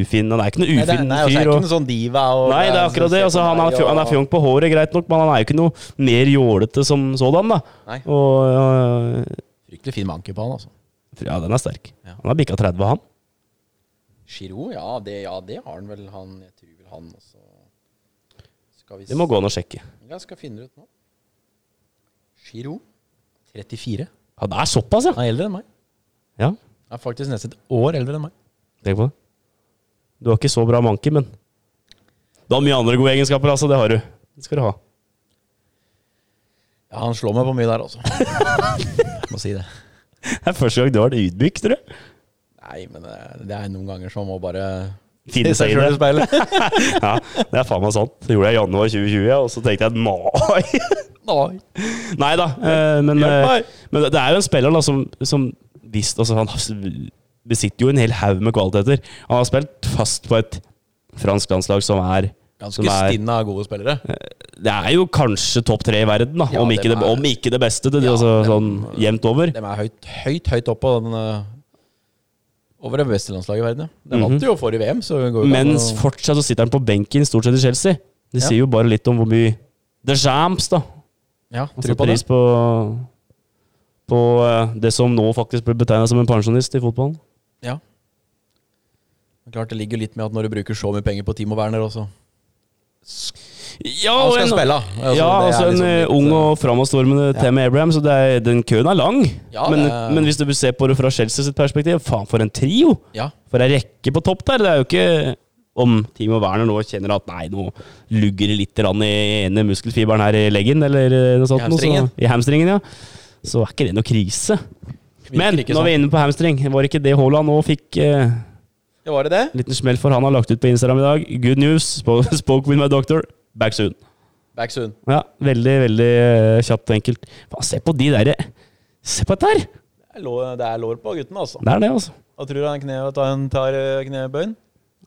S1: ufin Han er ikke noe
S3: Nei, det er-
S1: ufin
S3: nei, altså, det er
S1: fyr.
S3: ikke
S1: og-
S3: noen sånn diva og
S1: Nei, det er akkurat det. Altså, han, er fjong, han er fjong på håret, greit nok, men han er jo ikke noe mer jålete som sådan. da.
S3: Nei.
S1: Og, øh,
S3: Fryktelig fin manke på han, altså.
S1: ja, den er sterk.
S3: Ja.
S1: Han har bikka 30, han.
S3: Giro, ja det, ja, det har han vel, han. Jeg tror vel han også Skal vi
S1: Det må gå an å sjekke.
S3: Jeg skal finne det ut nå. Giro 34.
S1: Ja, det er såpass, ja.
S3: Han er eldre enn meg.
S1: ja.
S3: Han er faktisk nesten et år eldre enn meg.
S1: Tenk på det. Du har ikke så bra manke, men Du har mye andre gode egenskaper, altså. Det har du. Det skal du ha.
S3: Ja, han slår meg på mye der, altså. må si det.
S1: Det er første gang du har vært ydmyk, tror jeg.
S3: Nei, men eh, det er noen ganger som må bare
S1: Finne seg i det.
S3: selv speilet.
S1: Ja, det er faen meg sant. Det gjorde jeg i januar 2020, ja, og så tenkte jeg mai.
S3: Nei.
S1: Nei da, eh, men,
S3: Hjelp
S1: eh,
S3: meg.
S1: men det er jo en spiller da, som, som visst, altså, Han har- besitter jo en hel haug med kvaliteter. Han har spilt fast på et fransk landslag som er som
S3: Ganske
S1: er,
S3: stinn av gode spillere.
S1: det er jo kanskje topp tre i verden, da,
S3: Ja,
S1: om, ikke
S3: dem
S1: det,
S3: er-
S1: om ikke det beste. Det, det,
S3: Ja,
S1: altså,
S3: dem-
S1: sånn jevnt over.
S3: De er høyt, høyt, høyt opp på den eh, Over det beste landslaget i verden, ja. De vant jo forrige VM, så det går jo ikke an
S1: Mens
S3: å-
S1: fortsatt så sitter han på benken stort sett i Chelsea. Det
S3: Ja.
S1: sier jo bare litt om hvor mye The Jams, da.
S3: Ja,
S1: Han
S3: tro på
S1: setter
S3: det.
S1: pris på på eh, det som nå faktisk blir betegna som en pensjonist i fotballen.
S3: Ja. Men klart det ligger litt med at når du bruker så mye penger på Timo Werner også
S1: Ja,
S3: Han skal
S1: en,
S3: spille. Altså,
S1: ja,
S3: det er
S1: altså en
S3: liksom
S1: eh,
S3: litt,
S1: ung
S3: eh,
S1: og framadstormende
S3: ja.
S1: Tammy Abraham, så det er, den køen er lang.
S3: Ja,
S1: men,
S3: det er-
S1: men hvis du ser på det fra Chelsea sitt perspektiv, faen for en trio!
S3: Ja.
S1: For ei rekke på topp der. Det er jo ikke om Timo Werner nå kjenner at nei, nå lugger det litt grann i ene muskelfiberen her i leggen, eller noe sånt.
S3: I
S1: noe,
S3: hamstringen.
S1: Så, I hamstringen, ja. Så er ikke det noe krise.
S3: virker
S1: Men
S3: ikke
S1: når vi
S3: sånn.
S1: er inne på hamstring, var ikke det Haaland nå fikk eh,
S3: Ja, Var det det?
S1: liten smell for? Han har lagt ut på Instagram i dag. Good news. sp- Spoke with my doctor. Back soon.
S3: Back soon.
S1: Ja, veldig, veldig eh, kjapt og enkelt. Faen, se på de derre Se på dette her!
S3: Det er lår- Det er lår på gutten, altså.
S1: Det er det, altså.
S3: Hva tror du han kne, at han tar eh, knebøyen?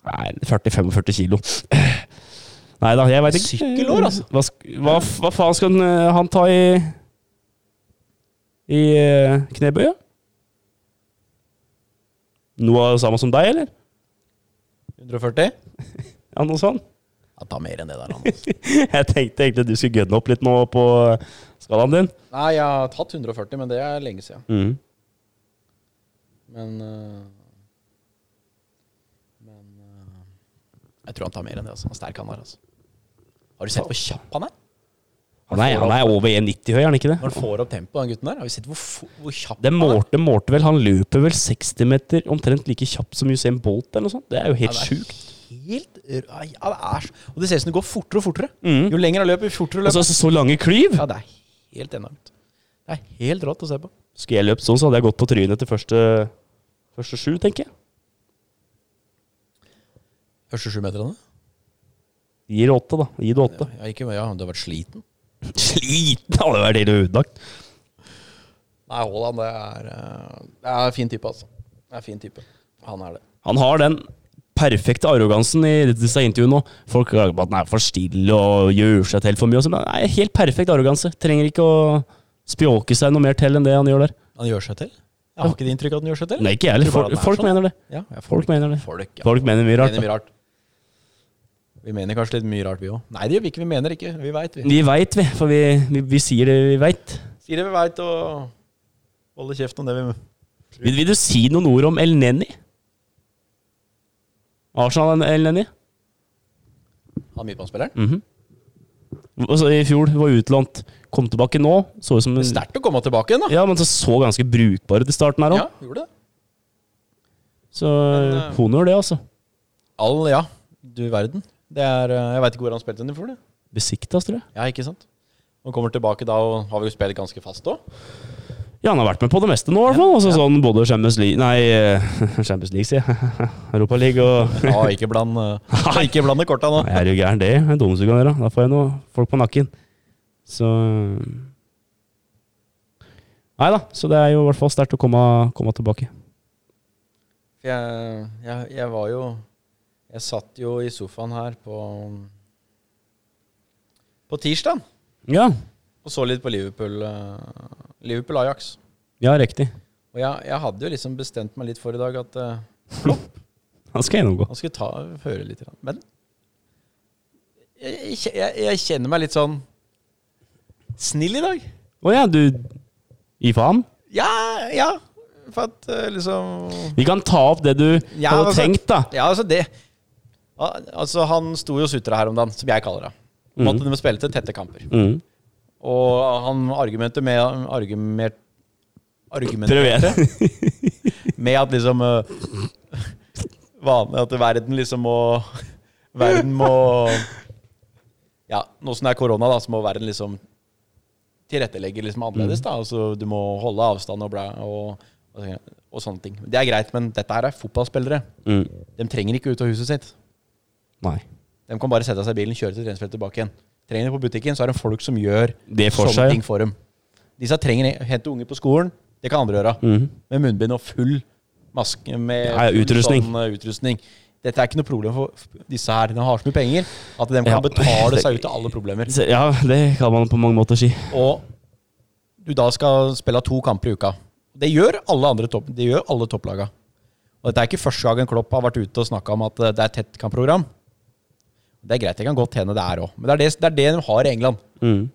S1: Nei, 40-45 kilo. Nei da, jeg veit ikke.
S3: Sykkelår, altså.
S1: Hva, sk- hva, f- hva faen skal han, eh, han ta i I eh, knebøyet? Noe av det samme som deg, eller?
S3: 140?
S1: Ja, noe sånt?
S3: Han tar mer enn det der, han. Altså.
S1: Jeg tenkte egentlig du skulle gunne opp litt nå på eh, skalaen din.
S3: Nei, jeg har tatt 140, men det er lenge siden.
S1: Mm.
S3: Men eh, Men eh, jeg tror han tar mer enn det, altså. Han er sterk, han der, altså. Har du sett hvor kjapp han er?
S1: Han, er, han er over 1,90 høy, er han ikke det?
S3: Når han får opp tempoet, den gutten der. Har du sett hvor, f- hvor kjapp
S1: Det
S3: han er?
S1: målte, målte vel, Han løper vel 60 meter omtrent like kjapt som Usain Bolt eller noe sånt. Det er jo helt
S3: Ja, det er
S1: sjukt.
S3: Helt r- Ja, det er så Og det ser ut som det går fortere og fortere.
S1: Mm.
S3: Jo lenger han løper, jo fortere løper
S1: Altså, så så lange klyv!
S3: Ja, det er helt enormt. Det er helt rått å se på.
S1: Skulle jeg løpt sånn, så hadde jeg gått på trynet til første, første sju, tenker jeg.
S3: Første sju meterne?
S1: Gi det åtte, da. Gi det åtte.
S3: Ja, ikke, ja, du har vært sliten?
S1: Sliten! Ja, det var det du ødelagt.
S3: Nei, Haaland, det er eh, Det er en fin type, altså. Det er en fin type. Han er det.
S1: Han har den perfekte arrogansen i disse intervjuene nå. Folk klager på at han er for stille og gjør seg til for mye. Og sånn. Nei, helt perfekt arroganse. Trenger ikke å spjåke seg noe mer til enn det han gjør der.
S3: Han gjør seg til? Jeg har ikke det inntrykket at han gjør seg til.
S1: Nei, ikke jeg heller.
S3: Tror
S1: Folk,
S3: bare at han er
S1: folk
S3: sånn.
S1: mener det.
S3: Ja, ja, folk,
S1: Folk mener det.
S3: folk, ja.
S1: Folk mener mye rart.
S3: mener
S1: da.
S3: mye rart. Vi mener kanskje litt mye rart, vi òg. Nei, det gjør vi ikke. Vi mener ikke. Vi veit, vi.
S1: Vi veit, vi. For vi, vi, vi sier det vi veit.
S3: Sier det vi veit, og holder kjeft om det vi
S1: Vil, vil du si noen ord om El Neni? Arsenal El Neni?
S3: Han midtbanespilleren.
S1: Mhm. altså, I fjor var utlånt. Kom tilbake nå. Så ut som en,
S3: Det er Sterkt å komme tilbake igjen, da.
S1: ja, men så, så ganske brukbar ut i starten her òg.
S3: Ja, gjorde det.
S1: Så
S3: Men, eh,
S1: honnør det, altså.
S3: All, ja. Du verden. Det er eh, Jeg veit ikke hvor han spilte den i fjor, det.
S1: Besiktas, tror jeg.
S3: Ja, ikke sant? Og kommer tilbake da, og har vi jo spilt ganske fast òg.
S1: Ja, han har vært med på det meste nå, i hvert fall. Altså, sånn, både Champions League Nei, eh, Champions League, sier jeg. Europa League og
S3: Ja, ikke bland eh, Ikke bland det korta nå.
S1: Nei, er du gæren, det er det dummeste du kan gjøre. Da får jeg noe folk på nakken. Så Nei da, så det er jo i hvert fall sterkt å komme, komme tilbake.
S3: Jeg, jeg, jeg var jo Jeg satt jo i sofaen her på På tirsdag
S1: Ja,
S3: og så litt på Liverpool eh, Liverpool Ajax.
S1: ja riktig.
S3: Og jeg, jeg hadde jo liksom bestemt meg litt for i dag at eh,
S1: Han skal gjennomgå.
S3: han skulle ta høre litt. grann. Men jeg, jeg, jeg kjenner meg litt sånn snill i dag.
S1: Å ja, du Gi faen?
S3: Ja, ja. For at eh, liksom
S1: Vi kan ta opp det du
S3: Ja,
S1: hadde
S3: altså-
S1: tenkt, da.
S3: Ja, altså det Al- Altså Han sto jo og sutra her om dagen, som jeg kaller det. Om at de må spille til tette kamper.
S1: Mm.
S3: Og han argumenterte med argument,
S1: Prøv
S3: Argumenterte
S1: igjen.
S3: med at liksom øh, Vanlig at verden liksom må Verden må Ja, nå som det er korona, da, så må verden liksom tilrettelegge liksom annerledes. da Altså Du må holde avstand og, bla, og, og, og sånne ting. Det er greit, men dette her er fotballspillere.
S1: Mm.
S3: De trenger ikke ut av huset sitt.
S1: Nei.
S3: De kan bare sette seg i bilen, kjøre til treningsfeltet tilbake igjen. Trenger de på butikken, så er det folk som gjør
S1: Det for
S3: sånne
S1: seg, ja.
S3: ting for dem. Disse trenger hente unger på skolen. Det kan andre gjøre. Med munnbind og full maske med
S1: Mhm. Ja, ja,
S3: full
S1: utrustning.
S3: Sånn, eh, utrustning. Dette er ikke noe problem for f- disse her. De har så mye penger at de kan
S1: Ja.
S3: betale seg ut av alle problemer.
S1: Så, ja, det kan man på mange måter si.
S3: Og du da skal spille to kamper i uka. Det gjør alle andre topp, det gjør alle topplaga. Og dette er ikke første gangen Klopp har vært ute og snakka om at eh, det er tett kampprogram. Det er greit, det kan godt hende det er òg. Men det er det, det er det de har i England.
S1: Mm.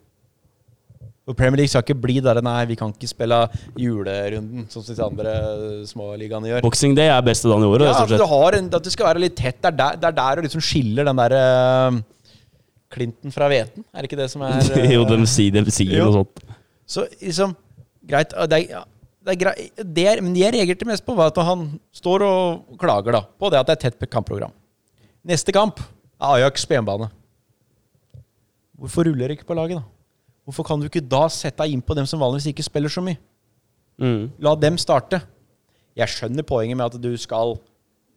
S3: For Premier League skal ikke bli der nei, vi kan ikke spille julerunden, sånn som de andre småligaene gjør.
S1: Boxing Day er beste dagen i året,
S3: Ja,
S1: stort
S3: at,
S1: sett.
S3: du har en, at du skal være litt tett. Det er der, det er der du liksom skiller den derre Clinton fra hveten. Er det ikke det som er eh,
S1: jo, de sier, de sier
S3: Jo.
S1: noe sånt.
S3: Så liksom Greit. ah, Det er, ja, det er grei, det er, men jeg reagerte mest på var at han står og klager da, på det at det er tett kampprogram. Neste kamp er Ajax på hjemmebane. Hvorfor ruller du ikke på laget, da? Hvorfor kan du ikke da sette deg inn på dem som vanligvis ikke spiller så mye?
S1: Mm.
S3: La dem starte. Jeg skjønner poenget med at du skal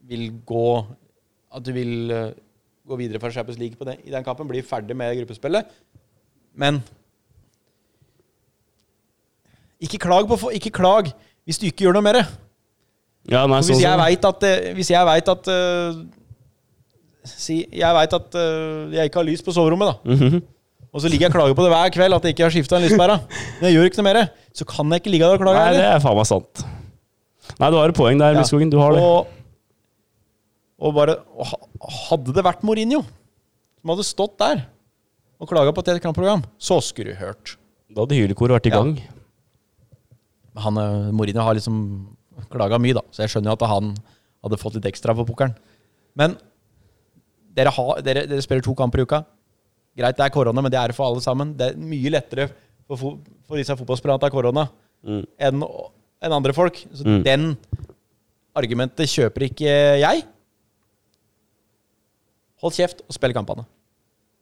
S3: vil gå At du vil eh, gå videre fra Champions League på det, i den kampen. Bli ferdig med gruppespillet. Men ikke klag, på, fo- ikke klag hvis du ikke gjør noe mer.
S1: Ja, nei,
S3: For
S1: sånn,
S3: Hvis jeg
S1: sånn.
S3: veit at, eh, hvis jeg vet at eh, Si jeg veit at eh, jeg ikke har lys på soverommet, da.
S1: Mhm.
S3: Og så ligger jeg og klager på det hver kveld at jeg ikke har skifta en lyspære. Men jeg gjør ikke noe mer. Så kan jeg ikke ligge der og klage.
S1: Nei,
S3: heller.
S1: det er faen meg sant. Nei, du har et poeng der,
S3: Ja.
S1: Midtskogen. Du har det.
S3: Og, og bare og ha- Hadde det vært Mourinho som hadde stått der og klaga på et helt kampprogram, så skulle du hørt.
S1: Da hadde hylekor vært i
S3: Ja.
S1: gang.
S3: Men Han, eh, Mourinho har liksom klaga mye, da, så jeg skjønner jo at han hadde fått litt ekstra for pokeren. Men dere, har, dere, dere spiller to kamper i uka. Greit, det er korona, men det er det for alle sammen. Det er mye lettere for, fo- for disse fotballspillerne at det er korona
S1: Mm.
S3: enn enn andre folk. Så
S1: Mm.
S3: den argumentet kjøper ikke jeg. Hold kjeft og spill kampene.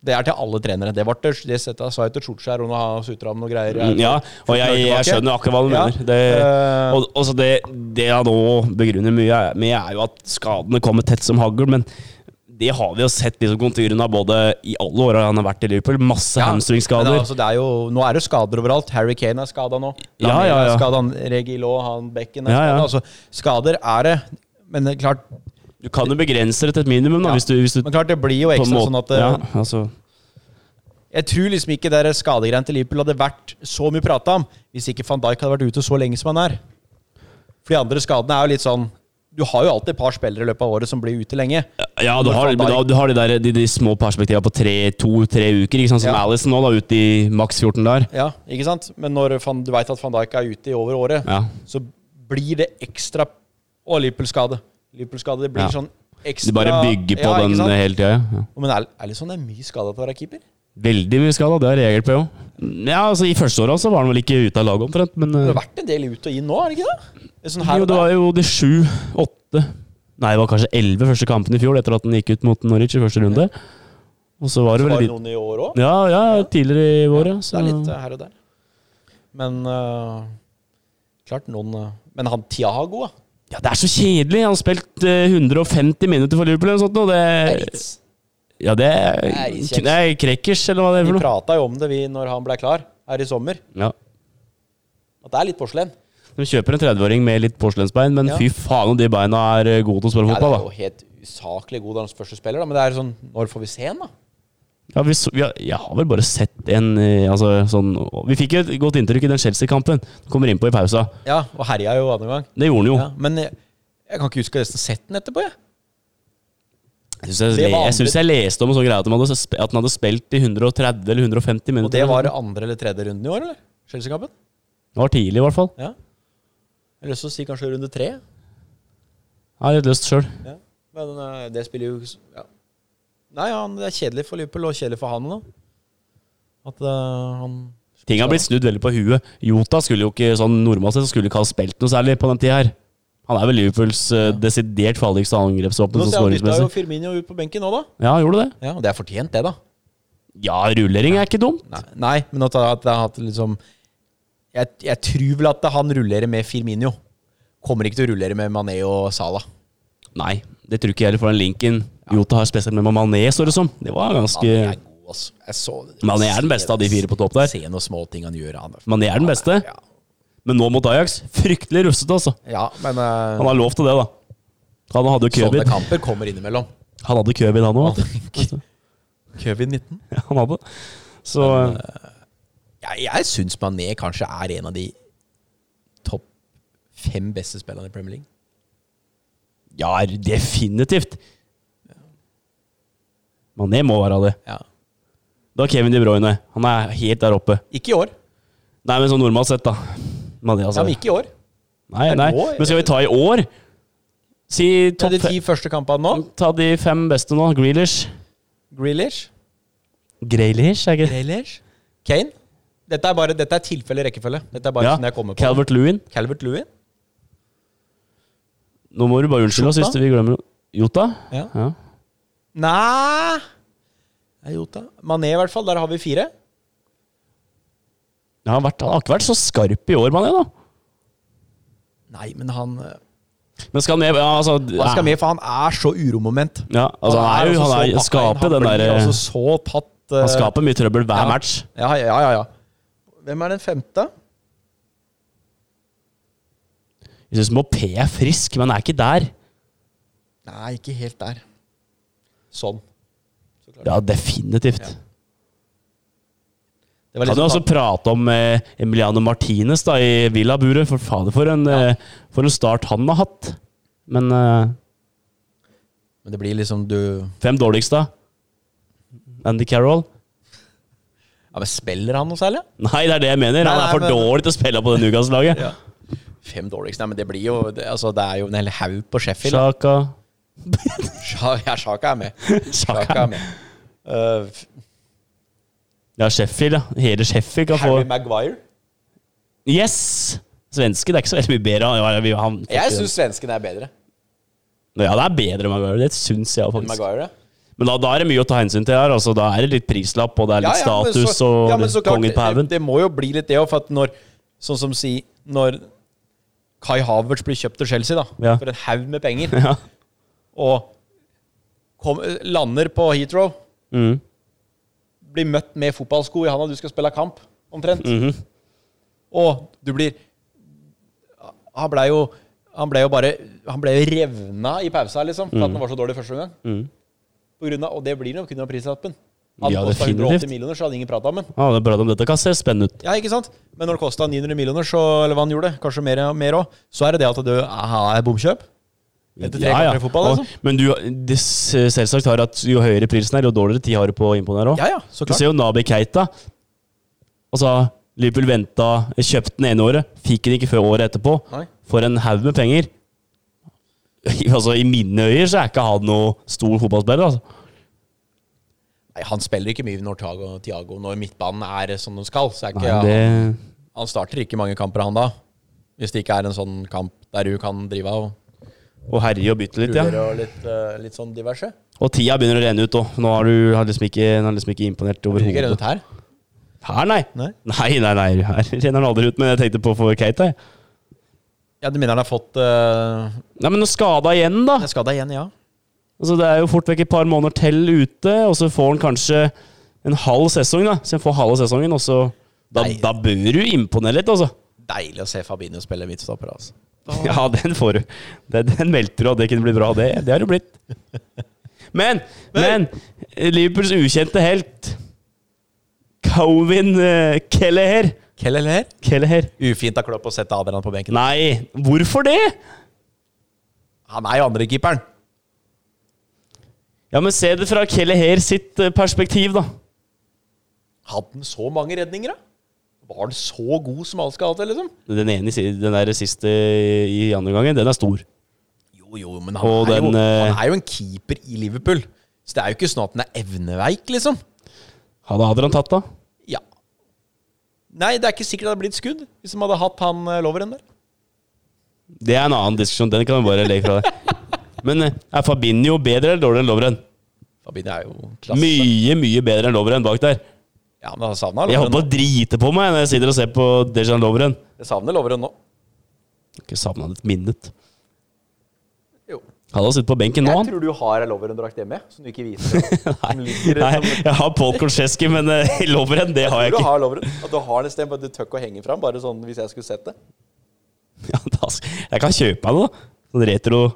S3: Det er til alle trenere. Det, var til, det setter- sa jeg til Solskjær og nå har han sutra om noe greier.
S1: Mm, Ja, og jeg, jeg skjønner akkurat hva du
S3: Ja.
S1: mener. Det,
S3: Eh.
S1: og, og så det, det jeg nå begrunner mye er- med, er jo at skadene kommer tett som hagl. Men det har vi jo sett liksom konturene av både i alle åra han har vært i Liverpool. Masse
S3: Ja,
S1: hamstringskader.
S3: men altså, det er jo, nå er det skader overalt. Harry Kane er skada nå.
S1: Ja, ja, ja.
S3: Er skada, Regi Law, han Bekken er
S1: Ja, ja.
S3: skada. Altså, skader er det. Men det er klart,
S1: du kan jo begrense det til et minimum, da,
S3: altså- Ja.
S1: hvis du, hvis du
S3: men klart det blir jo ekstra sånn at
S1: ja,
S3: eh,
S1: altså,
S3: Jeg tror liksom ikke det der skadegreiene til Liverpool hadde vært så mye prata om hvis ikke van Dijk hadde vært ute så lenge som han er. For de andre skadene er jo litt sånn Du har jo alltid et par spillere i løpet av året som blir ute lenge.
S1: ja, du har, men da, du har de, der, de, de små perspektivene på tre- to-tre uker, ikke sant, som
S3: Ja.
S1: Alice nå, da, ute i maks 14 der.
S3: Ja, ikke sant? Men når van, du veit at van Dijk er ute i over året,
S1: Ja.
S3: så blir det ekstra Og Liverpool-skade. Liverpool-skade, det blir
S1: Ja.
S3: sånn
S1: Du
S3: ekstra
S1: bare bygger på
S3: Ja, ikke
S1: den eh,
S3: sant?
S1: hele tida. Ja.
S3: Men er, er det sånn det er mye skada på å være keeper?
S1: Veldig mye skada, det har jeg reagert på òg. Ja, altså, I første året så var han vel ikke ute av laget omtrent, men
S3: Det
S1: eh,
S3: har vært en del ut og inn nå, er det ikke det? det? er Sånn her
S1: jo,
S3: og
S1: det
S3: der.
S1: var jo de sju, åtte Nei, det var kanskje elleve første kampen i fjor, etter at han gikk ut mot Norwich i første runde. Og så var det
S3: Så
S1: vel
S3: var det
S1: litt
S3: noen i år òg.
S1: Ja, ja, tidligere i vår, ja.
S3: Det
S1: Så
S3: er litt eh, her og der. Men eh, klart noen eh, Men han Tiago, da.
S1: Ja, det er så kjedelig! Han har spilt eh, 150 minutter for Liverpool eller noe sånt, og
S3: Det er
S1: det
S3: Ritz.
S1: Ja, det er,
S3: Det er litt
S1: det er Krekkers, eller hva det er
S3: Vi
S1: for noe.
S3: prata jo om det vi når han ble klar her i sommer,
S1: Ja.
S3: at det er litt porselen.
S1: De kjøper en 30-åring med litt porselensbein, men
S3: Ja.
S1: fy faen om de beina er eh, gode til å spille
S3: Ja, det
S1: fotball,
S3: er jo helt usaklig god hans første spiller, da, men det er sånn Når får vi se han, da?
S1: da. Ja, vi, så, vi har, jeg har vel bare sett en eh, altså, sånn Vi fikk jo et godt inntrykk i den Chelsea-kampen. Kommer innpå i pausa.
S3: Ja, og herja jo andre gang.
S1: Det gjorde han jo.
S3: Ja, men jeg, jeg kan ikke huske resten av setten etterpå, jeg.
S1: Jeg syns jeg,
S3: Det var
S1: le- jeg,
S3: andre-
S1: synes jeg leste om en sånn greie at, de hadde, sp- at han hadde spilt i 130 eller 150 minutter.
S3: Og det var andre eller tredje runden i år, eller? Chelsea-kampen?
S1: Det var tidlig, i hvert fall.
S3: Ja. Jeg har lyst til å si kanskje runde tre.
S1: Jeg er litt lyst sjøl.
S3: Ja. Men eh, det spiller jo ikke s- ja. Nei, han, det er kjedelig for Liverpool og kjedelig for han nå. At eh, han
S1: Ting har blitt snudd veldig på huet. Jota skulle jo ikke sånn normalt sett så skulle ikke ha spilt noe særlig på den tida her. Han er vel Liverpools eh, desidert farligste angrepsvåpen
S3: Nå
S1: sånn
S3: ser jeg bytta jo
S1: skåringsmessig.
S3: Firmino ut på benken nå, da.
S1: Ja, gjorde det?
S3: Ja, og Det er fortjent, det, da.
S1: Ja, rullering er ikke dumt.
S3: Nei, nei men at at det har hatt liksom jeg, jeg tror vel at han rullerer med Firmino. Kommer ikke til å rullere med Mané og Salah.
S1: Nei, det tror ikke jeg heller, for den linken Jota har spesielt med Mané, står det som. Det var ganske
S3: Mané er god, altså. Jeg så det.
S1: Mané er den beste av de fire på topp der.
S3: Se noen små ting han gjør. Han.
S1: Mané er den beste,
S3: Ja,
S1: men nå mot Ajax fryktelig rustete, altså.
S3: ja men eh,
S1: Han har lov til det, da. Han hadde jo
S3: sånne
S1: covid.
S3: kamper kommer innimellom.
S1: Han hadde covid, han òg.
S3: Covid-19.
S1: Ja, han hadde. Så
S3: Jeg, jeg syns Mané kanskje er en av de topp fem beste spillerne i Premier League.
S1: Ja,
S3: eh,
S1: definitivt. Mané må være det.
S3: Ja.
S1: Da Kevin De Bruyne. Han er helt der oppe.
S3: Ikke i år.
S1: Nei, men sånn normalt sett, da. Men, det,
S3: Ja,
S1: altså.
S3: men ikke i år.
S1: nei, nei.
S3: nå,
S1: Men skal vi ta i år? Si
S3: Det
S1: topp
S3: er de ti første kampene nå.
S1: fem. Ta de fem beste nå. Grealish.
S3: Grealish.
S1: Grealish, er ikke det?
S3: Grealish. Kane. Dette er, bare, dette er tilfelle rekkefølge. Dette er bare
S1: Ja.
S3: sånn jeg kommer på.
S1: Calvert Lewin.
S3: Calvert Lewin.
S1: Nå må du bare unnskylde oss hvis
S3: Jota?
S1: vi glemmer noe. Jota?
S3: Ja.
S1: Ja.
S3: Nei Det er Jota. Mané, i hvert fall. Der har vi fire.
S1: Ja, Han har, vært, han har ikke vært så skarp i år, Mané, da.
S3: Nei, men han eh,
S1: Men skal han ned ja, altså,
S3: Hva skal
S1: ja.
S3: med? For han er så uromoment.
S1: Ja, altså, han, er jo, han er,
S3: altså så pakka inn.
S1: skaper den
S3: Han
S1: der
S3: blir altså så tatt eh,
S1: Han skaper mye trøbbel hver
S3: ja.
S1: match.
S3: Ja, ja, ja, ja. Hvem er den femte?
S1: Jeg syns Mopé er frisk, men er ikke der.
S3: Nei, ikke helt der. Sånn.
S1: Ja, definitivt.
S3: Ja. Det liksom sånn-
S1: Kan jo også prate om eh, Emiliano Martinez da, i Villa-buret. For fader, for en, eh, for en start han har hatt. Men eh,
S3: Men det blir liksom du Ja,
S1: fem dårligste, da? Andy Carroll?
S3: men Spiller han noe særlig?
S1: Nei, det er det jeg mener. Han
S3: Nei,
S1: er for
S3: men-
S1: dårlig til å spille på det Nugas-laget.
S3: Ja. Fem dårligste? Nei, men det blir jo Det, altså, det er jo en hel haug på Sheffield.
S1: Sjaka
S3: Sha- Ja, Sjaka er med. Sjaka
S1: Sjaka.
S3: er med. Uh, f-
S1: Ja, Sheffield, ja. Hele Sheffield kan få
S3: Harry Maguire.
S1: Yes! Svenske, det er ikke så veldig mye bedre. Ja, ja, vi- han,
S3: Jeg syns svensken er bedre
S1: Ja, det er bedre Maguire. Det syns jeg
S3: enn
S1: faktisk.
S3: Maguire. ja.
S1: Men da, da er det mye å ta hensyn til her. Altså, da er det litt prislapp, og det er litt
S3: men
S1: status
S3: så-
S1: og
S3: ja, men
S1: litt
S3: så klart,
S1: kongen på
S3: det,
S1: haugen.
S3: det må jo bli litt det òg, for at når Sånn som si Når Kai Havertz blir kjøpt til Chelsea, da,
S1: Ja.
S3: for en haug med penger,
S1: Ja.
S3: og kom, lander på Heathrow,
S1: Mm.
S3: blir møtt med fotballsko i handa, du skal spille kamp, omtrent,
S1: Mhm.
S3: og du blir Han blei jo han ble jo bare Han ble jo revna i pausa, liksom, for at han var så dårlig første omgang.
S1: Mm.
S3: På grunn av, og det blir nok pga. prislappen. Hadde
S1: Ja,
S3: det kosta
S1: definitivt.
S3: 180 millioner, så hadde ingen prata om den.
S1: Ja, det er bra om dette kan se spennende ut.
S3: Ja, ikke sant? Men når det kosta 900 millioner, så, eller hva han gjorde, kanskje mer mer òg, så er det det at det er bomkjøp. Etter tre kamper i fotball,
S1: Og-
S3: liksom.
S1: Men du, det s- selvsagt har at jo høyere prisen er, jo dårligere tid har du på å imponere òg.
S3: Ja, ja, så
S1: du
S3: klart.
S1: ser jo Nabi Keita. Altså, Liverpool venta, kjøpte den ene året, fikk den ikke før året etterpå.
S3: Nei.
S1: For en haug med penger. altså, I mine øyer så er ikke han noe stor fotballspiller. altså.
S3: Nei, han spiller ikke mye når Thiago, Thiago når midtbanen er som den skal. Så er ikke,
S1: Nei, det...
S3: Han starter ikke mange kamper, han da. Hvis det ikke er en sånn kamp der du kan drive av og
S1: Og herje og bytte litt,
S3: ruller
S1: ja.
S3: og litt, eh, litt sånn diverse.
S1: Og tida begynner å renne ut òg. Nå har du har liksom ikke, den har liksom ikke imponert
S3: Blir ikke
S1: overhodet.
S3: reddet her.
S1: Her, nei.
S3: Nei.
S1: Nei, nei, nei. Her renner den aldri ut, men jeg tenkte på for Keita. jeg.
S3: Ja, du mener han har fått eh,
S1: Nei, men nå skada igjen, da.
S3: Jeg skal da igjen, ja.
S1: Altså, det er jo fort vekk et par måneder til ute, og så får han kanskje en halv sesong, da. Så han får halve sesongen, og så da,
S3: Nei.
S1: da bør du imponere litt, altså.
S3: Deilig å se Fabinho spille midtstopper, altså.
S1: Ja, den får du. Den, den melter du, og det kunne bli bra. Det, det har du blitt. Men, men Liverpools ukjente helt, Covin eh, Kelleher
S3: Kelleher.
S1: Kelleher.
S3: Ufint av Klopp å sette Adrian på benken.
S1: Nei, hvorfor det?
S3: Han er jo andrekeeperen.
S1: Ja, men se det fra Kelleher sitt eh, perspektiv, da.
S3: Hadde han så mange redninger, da? Var han så god som alle skal ha til, liksom?
S1: Den ene i si- den der siste i andre gangen, den er stor.
S3: Jo, jo, men
S1: Og
S3: han, er jo,
S1: den, eh,
S3: han er jo en keeper i Liverpool. Så det er jo ikke sånn at han er evneveik, liksom.
S1: Hadde Adrian tatt, da?
S3: Ja. Nei, det er ikke sikkert det hadde blitt skudd hvis de hadde hatt han eh, loveren der.
S1: Det er en annen diskusjon. Den kan vi bare legge fra deg. Men eh, er Fabinho bedre eller dårligere enn Lovren?
S3: Fabinho er jo klasse.
S1: Mye, mye bedre enn Lovren bak der.
S3: Ja, men han savner
S1: Jeg holdt på
S3: loveren.
S1: å drite på meg når jeg sitter og ser på Dejan Lovren.
S3: nå. Jeg savner loveren nå.
S1: Ikke savna et minutt.
S3: Jo.
S1: Hadde han sittet på benken nå,
S3: Jeg
S1: han?
S3: tror du har ei loveren-drakt hjemme, som du ikke viser. Som ligger,
S1: Nei,
S3: som-
S1: jeg har Paul Korseski, men eh, Lovren, det har jeg
S3: Du
S1: ikke.
S3: har loveren. At du har det et sted, bare du tør ikke å henge fram, bare sånn hvis jeg skulle sett det.
S1: Ja, da, sk- jeg kan kjøpe meg noe, da. Sånn retro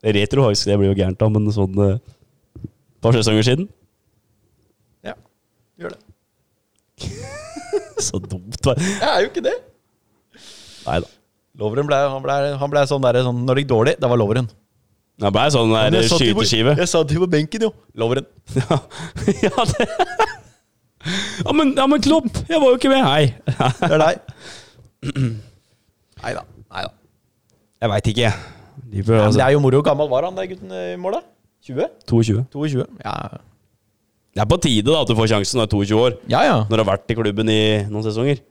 S1: Retro har jeg ikke, det blir jo gærent, da, men sånn eh, et par sesonger siden.
S3: Ja, gjør det.
S1: Så dumt. va.
S3: Jeg er jo ikke det.
S1: Nei da.
S3: Loveren ble, han ble, han ble sånn der sånn, Når det gikk dårlig, det var Loveren.
S1: Det blei sånn der
S3: Men jeg satt jo på-
S1: skyteskive.
S3: Jeg satt jo på benken, jo. Loveren.
S1: Ja, ja, det. Ja, men, ja, men Klopp, jeg var jo ikke med. Hei.
S3: Det er deg. Nei da. Nei da.
S1: Jeg veit ikke. De bør,
S3: Men det
S1: altså,
S3: er jo moro. Gammel var han der gutten eh, i mål, da? 20?
S1: 22.
S3: 22? Ja
S1: Det er på tide da at du får sjansen når du er 22 år.
S3: ja. ja.
S1: Når du har vært i klubben i noen sesonger.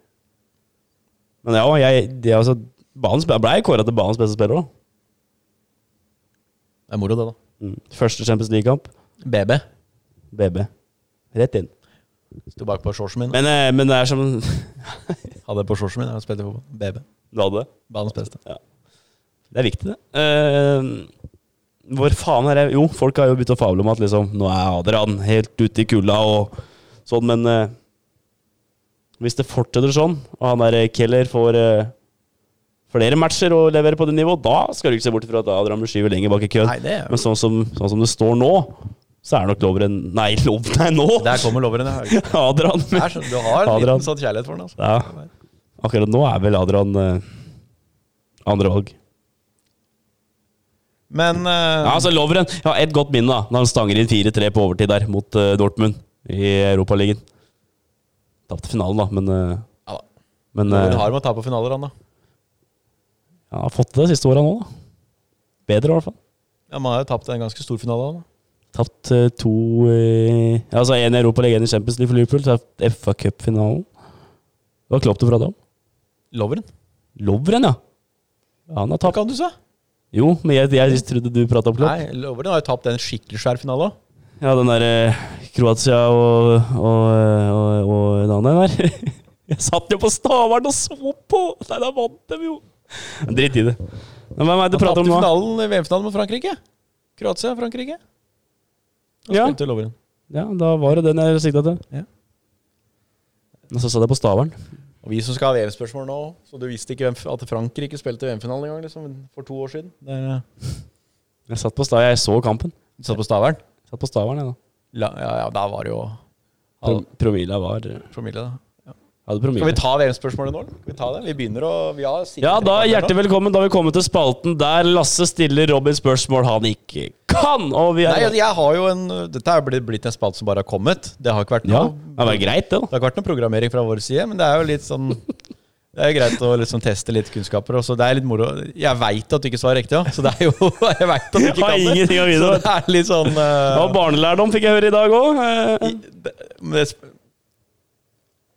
S1: Men ja, jeg, det, er altså, banens, jeg ble kåra til banens beste spiller òg.
S3: Det er moro, det, da.
S1: Mm. Første Champions League-kamp.
S3: BB.
S1: BB. Rett inn.
S3: Sto bak på shortsen min.
S1: Men, eh, men det er som
S3: Hadde det på shortsen min. Jeg spilte fotball. BB.
S1: Du hadde det.
S3: Banens beste.
S1: Det er viktig, det. Eh, hvor faen er det Jo, folk har jo begynt å fable om at liksom Nå er Adrian helt ute i kulda og sånn, men eh, hvis det fortsetter sånn, og han der Keller får eh, flere matcher og leverer på det nivået, da skal du ikke se bort fra at Adrian blir skyvet lenger bak i køen.
S3: Nei, det er
S1: Men sånn som, sånn som det står nå, så er nok Lovren Nei, lov, nei nå!
S3: Der kommer loveren, ja.
S1: Adrian.
S3: Det er sånn- Du har en
S1: Adrian.
S3: liten sånn kjærlighet for den, altså.
S1: Ja. Akkurat nå er vel Adrian eh, andre valg.
S3: Men eh,
S1: Ja, altså Lovren Jeg har et godt minne da Når han stanger inn 4-3 på overtid der Mot eh, Dortmund I Europaligaen. Tapte finalen da Men, eh,
S3: ja da.
S1: men eh,
S3: Lovren har med å ta på finaler, han, da.
S1: Han har fått det de siste årene nå da Bedre i hvert fall
S3: Ja, Man har jo tapt en ganske stor finale, han. da.
S1: Tapt eh, to eh, ja, Altså en i Europaligaen i Champions League for Liverpool Tapt FA Cup-finalen Det var Klopp du pratet om
S3: Loveren.
S1: Lovren ja Ja, han har
S3: Hva
S1: tapt
S3: kan du si?
S1: Jo, men jeg, jeg trodde du pratet om Klopp
S3: Nei, Loveren har jo tapt en skikkelig svær finale òg.
S1: Ja, den der eh, Kroatia og, og, eh, og, og den andre der. Jeg satt jo på Stavern og så på! Nei, da vant de jo! Men Drit i det. Men hvem er det du prater om nå?
S3: finalen, VM-finalen mot Frankrike. Kroatia, Frankrike. Og
S1: Ja.
S3: spilte Loveren.
S1: Ja, da var det den jeg sikta til.
S3: Ja.
S1: Og så satt jeg på Stavern.
S3: Og vi som skal ha VM-spørsmål nå, så du visste ikke hvem, at Frankrike spilte VM-finalen engang, liksom, for to år siden. Det er,
S1: Jeg satt på Stavern, jeg så kampen.
S3: du satt på Stavern?
S1: Satt på Stavern, jeg, da.
S3: La, ja, ja, der var det jo
S1: Pro promilla var eh,
S3: promille, da.
S1: Hadde
S3: Skal vi
S1: promille.
S3: ta VM-spørsmålet nå? eller? Skal vi ta det? Vi begynner å Vi har sikkert
S1: Ja, da
S3: rekorden
S1: hjertelig
S3: nå.
S1: velkommen. Da har vi kommet til spalten der Lasse stiller Robin spørsmål han ikke kan! Og vi
S3: Nei,
S1: er
S3: altså, jeg har jo en Dette er blitt- blitt en spalte som bare har kommet. Det har ikke vært
S1: Ja,
S3: noe
S1: det var greit, det, da.
S3: Det har ikke vært noe programmering fra vår side, men det er jo litt sånn Det er jo greit å liksom teste litt kunnskaper. Og så det er litt moro. Jeg veit at du ikke svarer riktig, ja. så det er jo Jeg vet at du ikke
S1: Har
S3: kan det.
S1: ingenting å vite,
S3: Så
S1: vet du.
S3: det er litt sånn eh,
S1: Og barnelærdom fikk jeg høre i dag Eh, òg.
S3: i- det, men det, sp-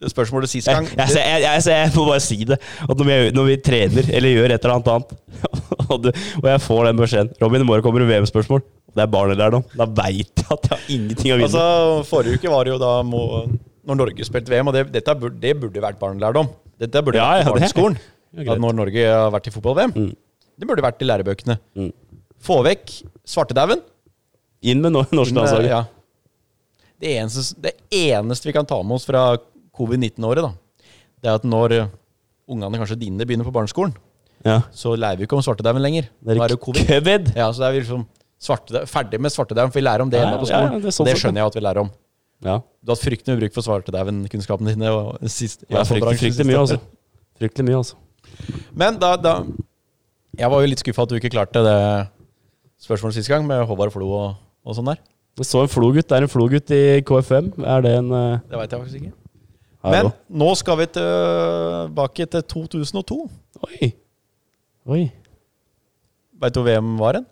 S3: det spørsmålet sist
S1: Jeg,
S3: gang
S1: jeg, altså, jeg, jeg, jeg, jeg må bare si det. At når vi, når vi trener eller gjør et eller annet annet, og, du, og jeg får den beskjeden 'Robin, i morgen kommer det VM-spørsmål'. Det er barnelærdom. Da veit jeg at jeg har ingenting å vinne.
S3: Altså, forrige uke var det jo da må, Når Norge spilte VM, og det, dette burde, det burde vært barnelærdom. Dette burde
S1: Ja, ja,
S3: vært på
S1: det-
S3: barneskolen.
S1: Ja, greit.
S3: at når Norge har vært i fotball-VM. Det burde vært i lærebøkene.
S1: Mm.
S3: Få vekk svartedauden.
S1: Inn med no- norsk landslag.
S3: Eh, Ja. Det, eneste, det eneste vi kan ta med oss fra covid-19-året, da, det er at når eh, ungene, kanskje dine, begynner på barneskolen,
S1: Ja.
S3: så lærer vi ikke om svartedauden lenger.
S1: Det
S3: Nå
S1: er
S3: er det jo covid.
S1: covid.
S3: Ja, så det er vi liksom svartedau- ferdig med svartedauden, for vi lærer om det
S1: Ja,
S3: ennå på
S1: ja,
S3: skolen.
S1: ja, det
S3: det,
S1: er sånn sett,
S3: skjønner jeg at vi lærer om.
S1: Ja.
S3: Du har hatt fryktelig mye bruk for svartedauden-kunnskapene dine. Og sist,
S1: Det er fryktelig,
S3: bransjen
S1: fryktelig
S3: siste.
S1: mye, altså. Fryktelig mye, altså.
S3: Men da, da Jeg var jo litt skuffa at du ikke klarte det spørsmålet sist gang, med Håvard Flo og, og sånn der.
S1: Jeg så en flogutt. Det er en flogutt i KFM. Er det en eh,
S3: Det veit jeg faktisk ikke.
S1: er
S3: Men
S1: det-
S3: nå skal vi tilbake til 2002.
S1: Oi. Oi.
S3: Veit du hvor VM var hen?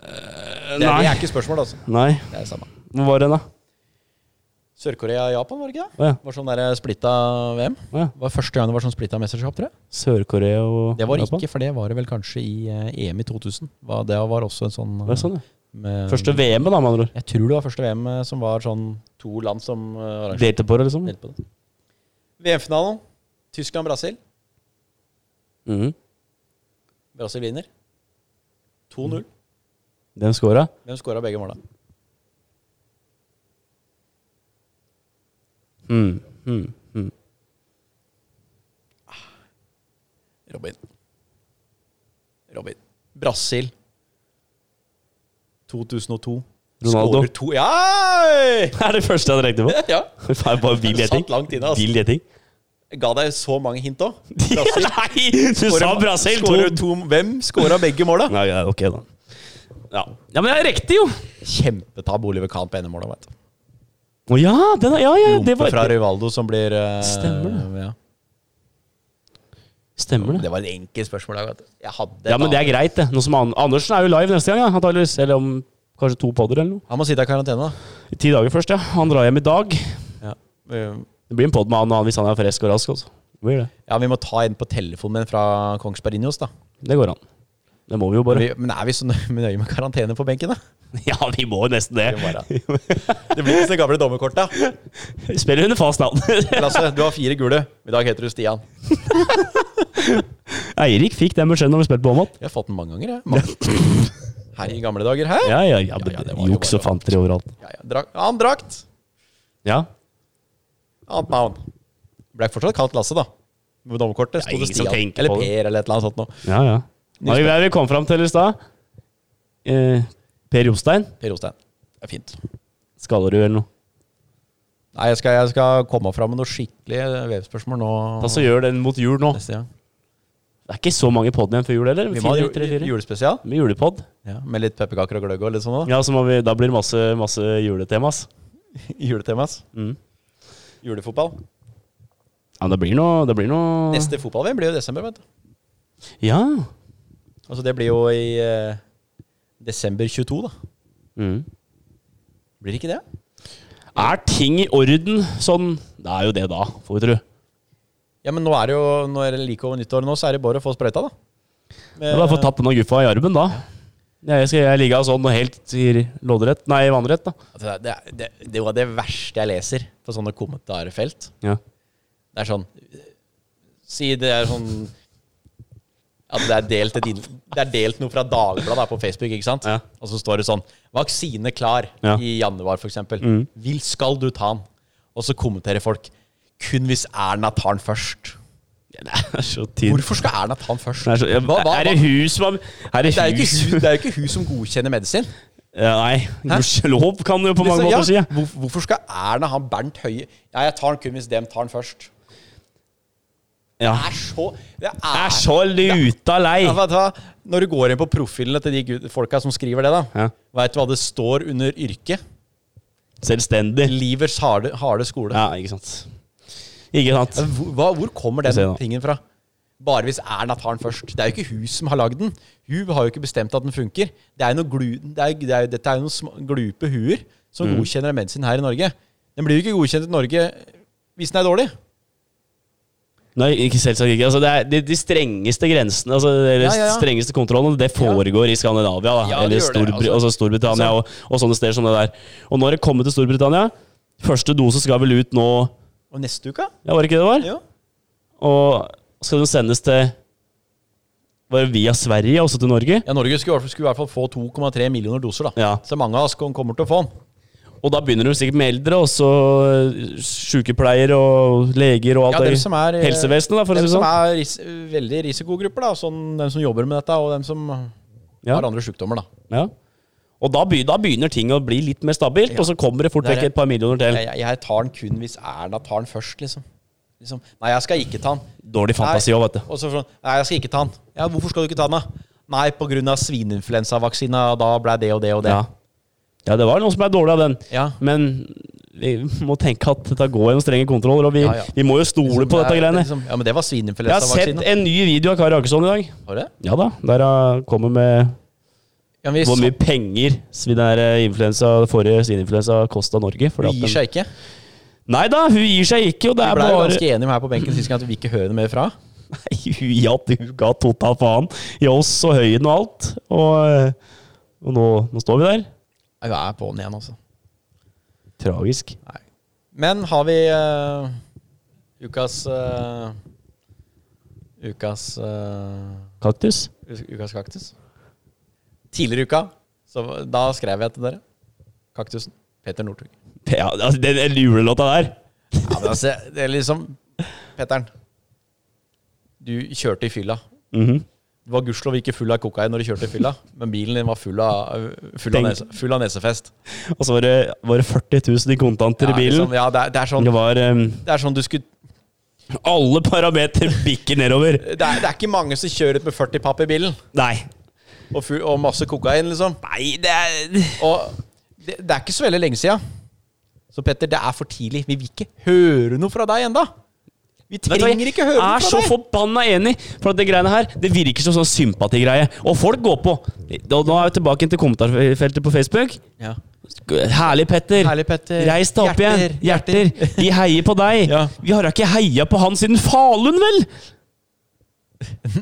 S3: Det, er- det
S1: Nei.
S3: er ikke spørsmål, altså.
S1: Nei.
S3: Eh, Det er samme.
S1: Hvor var den, da?
S3: Sør-Korea og Japan, var det ikke det?
S1: Å ja.
S3: Var sånn der splitta VM.
S1: Å ja.
S3: Det var første gang det var sånn splitta mesterskap, tror jeg.
S1: Sør-Korea og
S3: Det var
S1: Japan?
S3: ikke, for det var det vel kanskje i eh, EM i 2000. Var- Det var også en sånn,
S1: Det er sånn, ja.
S3: med-
S1: Første VM-et, da, med andre ord.
S3: Jeg tror det var første VM som var sånn to land som eh, arrangerte
S1: Delte på det, liksom.
S3: Helt på det. VM-finalen. Tyskland-Brasil.
S1: Mhm.
S3: Brasil vinner. 2-0.
S1: Den scora.
S3: Hvem skåra begge måla?
S1: Mm. Mm. Mm.
S3: Robin. Robin. Brasil. 2002.
S1: Ronaldo.
S3: Skårer to Ja!
S1: Det er det første jeg hadde regnet på.
S3: ja.
S1: Det er bare vill
S3: Du
S1: gjetting.
S3: satt langt inne, altså.
S1: Vill gjetting.
S3: Jeg Ga deg så mange hint òg.
S1: Ja, Nei! Du sa Brasil
S3: Skårer
S1: 2!
S3: to Hvem skåra begge måla?
S1: Nei, ja, ok, da. Ja. ja, men det er riktig, jo!
S3: Kjempetabb Oliver Kahn på enemåla, veit du.
S1: Å ja, den, er- ja, ja, det
S3: Lompe
S1: var
S3: fra Rivaldo som blir eh,
S1: Stemmer
S3: Ja.
S1: Stemmer det.
S3: Det var et enkelt spørsmål. Jeg, vet du. jeg hadde
S1: Ja, men det er greit, det. Nå som An Andersen er jo live neste gang, ja, antageligvis. Eller om kanskje to podder eller noe.
S3: Han må sitte i karantene, da.
S1: I Ti dager først, ja. Han drar hjem i dag.
S3: Eh,
S1: Det blir en podd med han, og han hvis han er frisk og rask. Altså. Det blir det.
S3: Ja, Vi må ta en på telefonen med en fra Kongsberg Injos, da.
S1: Det går an. Det må vi jo
S3: Men
S1: bare.
S3: vi- Men er vi så nø- nøye med karantene på benken, da?
S1: Ja, vi må jo nesten det.
S3: Det må Det blir ikke så gamle dommerkorta.
S1: Spiller under fast navn.
S3: Lasse, du har fire gule. I dag heter du Stian.
S1: Eirik fikk den beskjeden når vi spilte på Åmot.
S3: Jeg har fått den mange ganger, jeg. Mange. Her i gamle dager. Hæ?
S1: Ja, ja, ja.
S3: Ja, ja, det var jo
S1: Juks og
S3: bare-
S1: fanteri overalt.
S3: Ja, ja. Drak annen drakt,
S1: Ja.
S3: annet navn. Ble fortsatt kalt Lasse, da. På dommerkortet sto
S1: Ja,
S3: det
S1: ingen som
S3: Stian.
S1: tenker
S3: Eller
S1: på det.
S3: Per, eller et eller annet sånt noe.
S1: Ja, ja. Hva
S3: Nils-
S1: er det vi kom fram til i stad? Eh, per Jostein?
S3: Per Jostein. Det er fint.
S1: Skallerud eller noe?
S3: Nei, jeg skal, jeg skal komme fram med noe skikkelig vevspørsmål nå.
S1: Ta så gjør den mot jul nå.
S3: neste gang.
S1: Det er ikke så mange podder igjen før jul heller.
S3: Vi må ha
S1: Fire, tre,
S3: ju-
S1: fire.
S3: julespesial
S1: Med julepod.
S3: ja, med litt pepperkaker og gløgg og litt sånn òg.
S1: Ja, så må vi, da blir det masse, masse juletemas.
S3: Juletemas.
S1: Mm.
S3: Julefotball.
S1: Ja, men det blir noe, det blir noe...
S3: Neste fotball-VM blir jo i desember, vet du.
S1: Ja.
S3: Altså det blir jo i eh, desember 22, da.
S1: Mm.
S3: Blir det ikke det?
S1: Er ting i orden sånn? Det er jo det da, får vi tro.
S3: Ja, men nå er det jo nå er det like over nyttår nå, så er det bare å få sprøyta, da. Med,
S1: Jeg har bare fått tatt denne guffa i armen da. Jeg skal jeg ligge sånn og helt sier loddrett, nei, vannrett da.
S3: Altså, det, er- det, det er jo det verste jeg leser på sånne kommentarfelt.
S1: Ja.
S3: Det er sånn Si det er sånn At det er delt, et inn, det er delt noe fra Dagbladet da, på Facebook, ikke sant?
S1: Ja.
S3: Og så står det sånn Vaksine klar
S1: Ja. Mm.
S3: i januar, f.eks. Vil skal du ta den? Og så kommenterer folk kun hvis Erna tar den først.
S1: Det er så tid.
S3: Hvorfor skal Erna ta den først?
S1: Det er, så,
S3: Hva- hva-
S1: er det
S3: hva-
S1: hus man... Er det,
S3: det er jo
S1: hus?
S3: ikke, hun- det er jo ikke hun som godkjenner medisin.
S1: Ja, nei, gudskjelov kan du jo på mange
S3: Liksom, ja,
S1: måter si. Ja.
S3: hvor- Hvorfor skal Erna ha Bernt Høie Nei, jeg tar den kun hvis dem tar den først.
S1: Ja.
S3: Det er så Det er,
S1: Jeg er så luta lei.
S3: Ja, vet du hva? Når du går inn på profilene til de gud- folka som skriver det, da,
S1: Ja.
S3: veit du hva det står under yrket?
S1: Selvstendig.
S3: Livets harde, harde skole.
S1: Ja, ikke sant. Ikke sant.
S3: Hvor, hva, hvor kommer den
S1: Få se da.
S3: tingen fra? Bare hvis Erna tar den først. Det er jo ikke hun som har lagd den. Hun har jo ikke bestemt at den funker. Det er jo noe glu, det er, det er, jo- dette er jo noen sm- glupe huer som
S1: Mhm.
S3: godkjenner en medisin her i Norge. Den blir jo ikke godkjent i Norge hvis den er dårlig.
S1: Nei, ikke selvsagt ikke. Altså, det er de, de strengeste grensene, altså eller
S3: Ja, ja, ja.
S1: strengeste kontrollene, det foregår i Skandinavia. Da,
S3: Ja, det
S1: eller
S3: gjør det,
S1: Storbr
S3: altså.
S1: altså Storbritannia og, og sånne steder som det der. Og nå har det kommet til Storbritannia. Første dose skal vel ut nå
S3: Og neste uke?
S1: Ja, var det ikke det det var?
S3: Ja.
S1: Og skal den sendes til Var det via Sverige, også til Norge?
S3: ja, Norge skulle, i hvert fall- skulle i hvert fall få 2,3 millioner doser, da.
S1: Ja.
S3: Så mange av oss kom- kommer til å få den.
S1: Og da begynner de sikkert med eldre, og så eh, sykepleiere og leger og alt
S3: Ja,
S1: det
S3: dem som er, eh,
S1: Helsevesenet, da, for å si
S3: Dem
S1: det
S3: som
S1: sånn.
S3: er ris veldig risikogrupper, da. Sånn, dem som jobber med dette, og dem som
S1: Ja.
S3: har andre sykdommer, da.
S1: Ja. Og da, begy- da begynner ting å bli litt mer stabilt, og så kommer det fort
S3: Det er
S1: vekk
S3: det.
S1: et par millioner til.
S3: Jeg, jeg, jeg tar den kun hvis Erna tar den først, liksom. liksom. Nei, jeg skal ikke ta den.
S1: Dårlig fantasi òg, vet du.
S3: Og så sånn Nei, jeg skal ikke ta den. Ja, hvorfor skal du ikke ta den, da? Nei, på grunn av svineinfluensavaksina, og da ble det og det og det.
S1: Ja. ja, det var noe som er dårlig av den.
S3: Ja.
S1: Men vi må tenke at dette går gjennom strenge kontroller, og vi,
S3: Ja, ja.
S1: vi må jo stole på
S3: Liksom, det er-
S1: dette greiene.
S3: Liksom, ja, men det var
S1: Jeg har sett
S3: svineinfluensavaksina.
S1: en ny video av Kari Akesson i dag.
S3: Har du det?
S1: Ja da, der han kommer med
S3: Ja, men vi,
S1: hvor
S3: så,
S1: mye penger svi- den her eh, influensa, forrige svineinfluensa kosta Norge. fordi
S3: vi
S1: at den-
S3: gir seg ikke.
S1: Nei da, hun gir seg ikke, og det
S3: Vi
S1: er
S3: ble jo
S1: bare
S3: ganske enige om her på benken sist gang at vi ikke hører noe mer fra.
S1: Nei, hun ga, hun ga total faen i oss og Høyen og alt. Og, eh, og nå, nå står vi der.
S3: Nei, Jeg er på den igjen, altså.
S1: Tragisk.
S3: Nei. Men har vi eh, ukas eh, Ukas eh,
S1: Kaktus.
S3: Ukas kaktus. Tidligere i uka, så da skrev jeg til dere. Kaktusen. Peter Northug.
S1: Ja, altså, den den julelåta der.
S3: Ja, men altså, det er liksom Petter'n. Du kjørte i fylla.
S1: Mhm.
S3: Det var gudskjelov ikke full av kokain når du kjørte i fylla, men bilen din var full av, full av,
S1: Tenk.
S3: nese, full av nesefest.
S1: Og så var det, var det 40 000 i kontanter i
S3: Ja,
S1: bilen.
S3: liksom, ja, det, er, det, er sånn,
S1: Det var em,
S3: det er sånn du skulle
S1: Alle parametere bikker nedover.
S3: det er, det er ikke mange som kjører ut med 40 papp i bilen,
S1: Nei.
S3: og, full, og masse kokain, liksom.
S1: Nei, det er
S3: Og det, det er ikke så veldig lenge siden Så Petter, det er for tidlig. Vi vil ikke høre noe fra deg enda. Vi
S1: Vet du hva,
S3: trenger ikke høre noe
S1: Jeg er så
S3: fra deg.
S1: forbanna enig, for at det greiene her Det virker som sånn sympatigreie. Og folk går på. Da- Nå er vi tilbake til kommentarfeltet på Facebook.
S3: Ja.
S1: Herlig, Petter.
S3: Herlig, Petter.
S1: Reis deg opp igjen.
S3: Hjerter,
S1: Hjerter. Vi heier på deg.
S3: Ja.
S1: Vi har da ikke heia på han siden Falun, vel?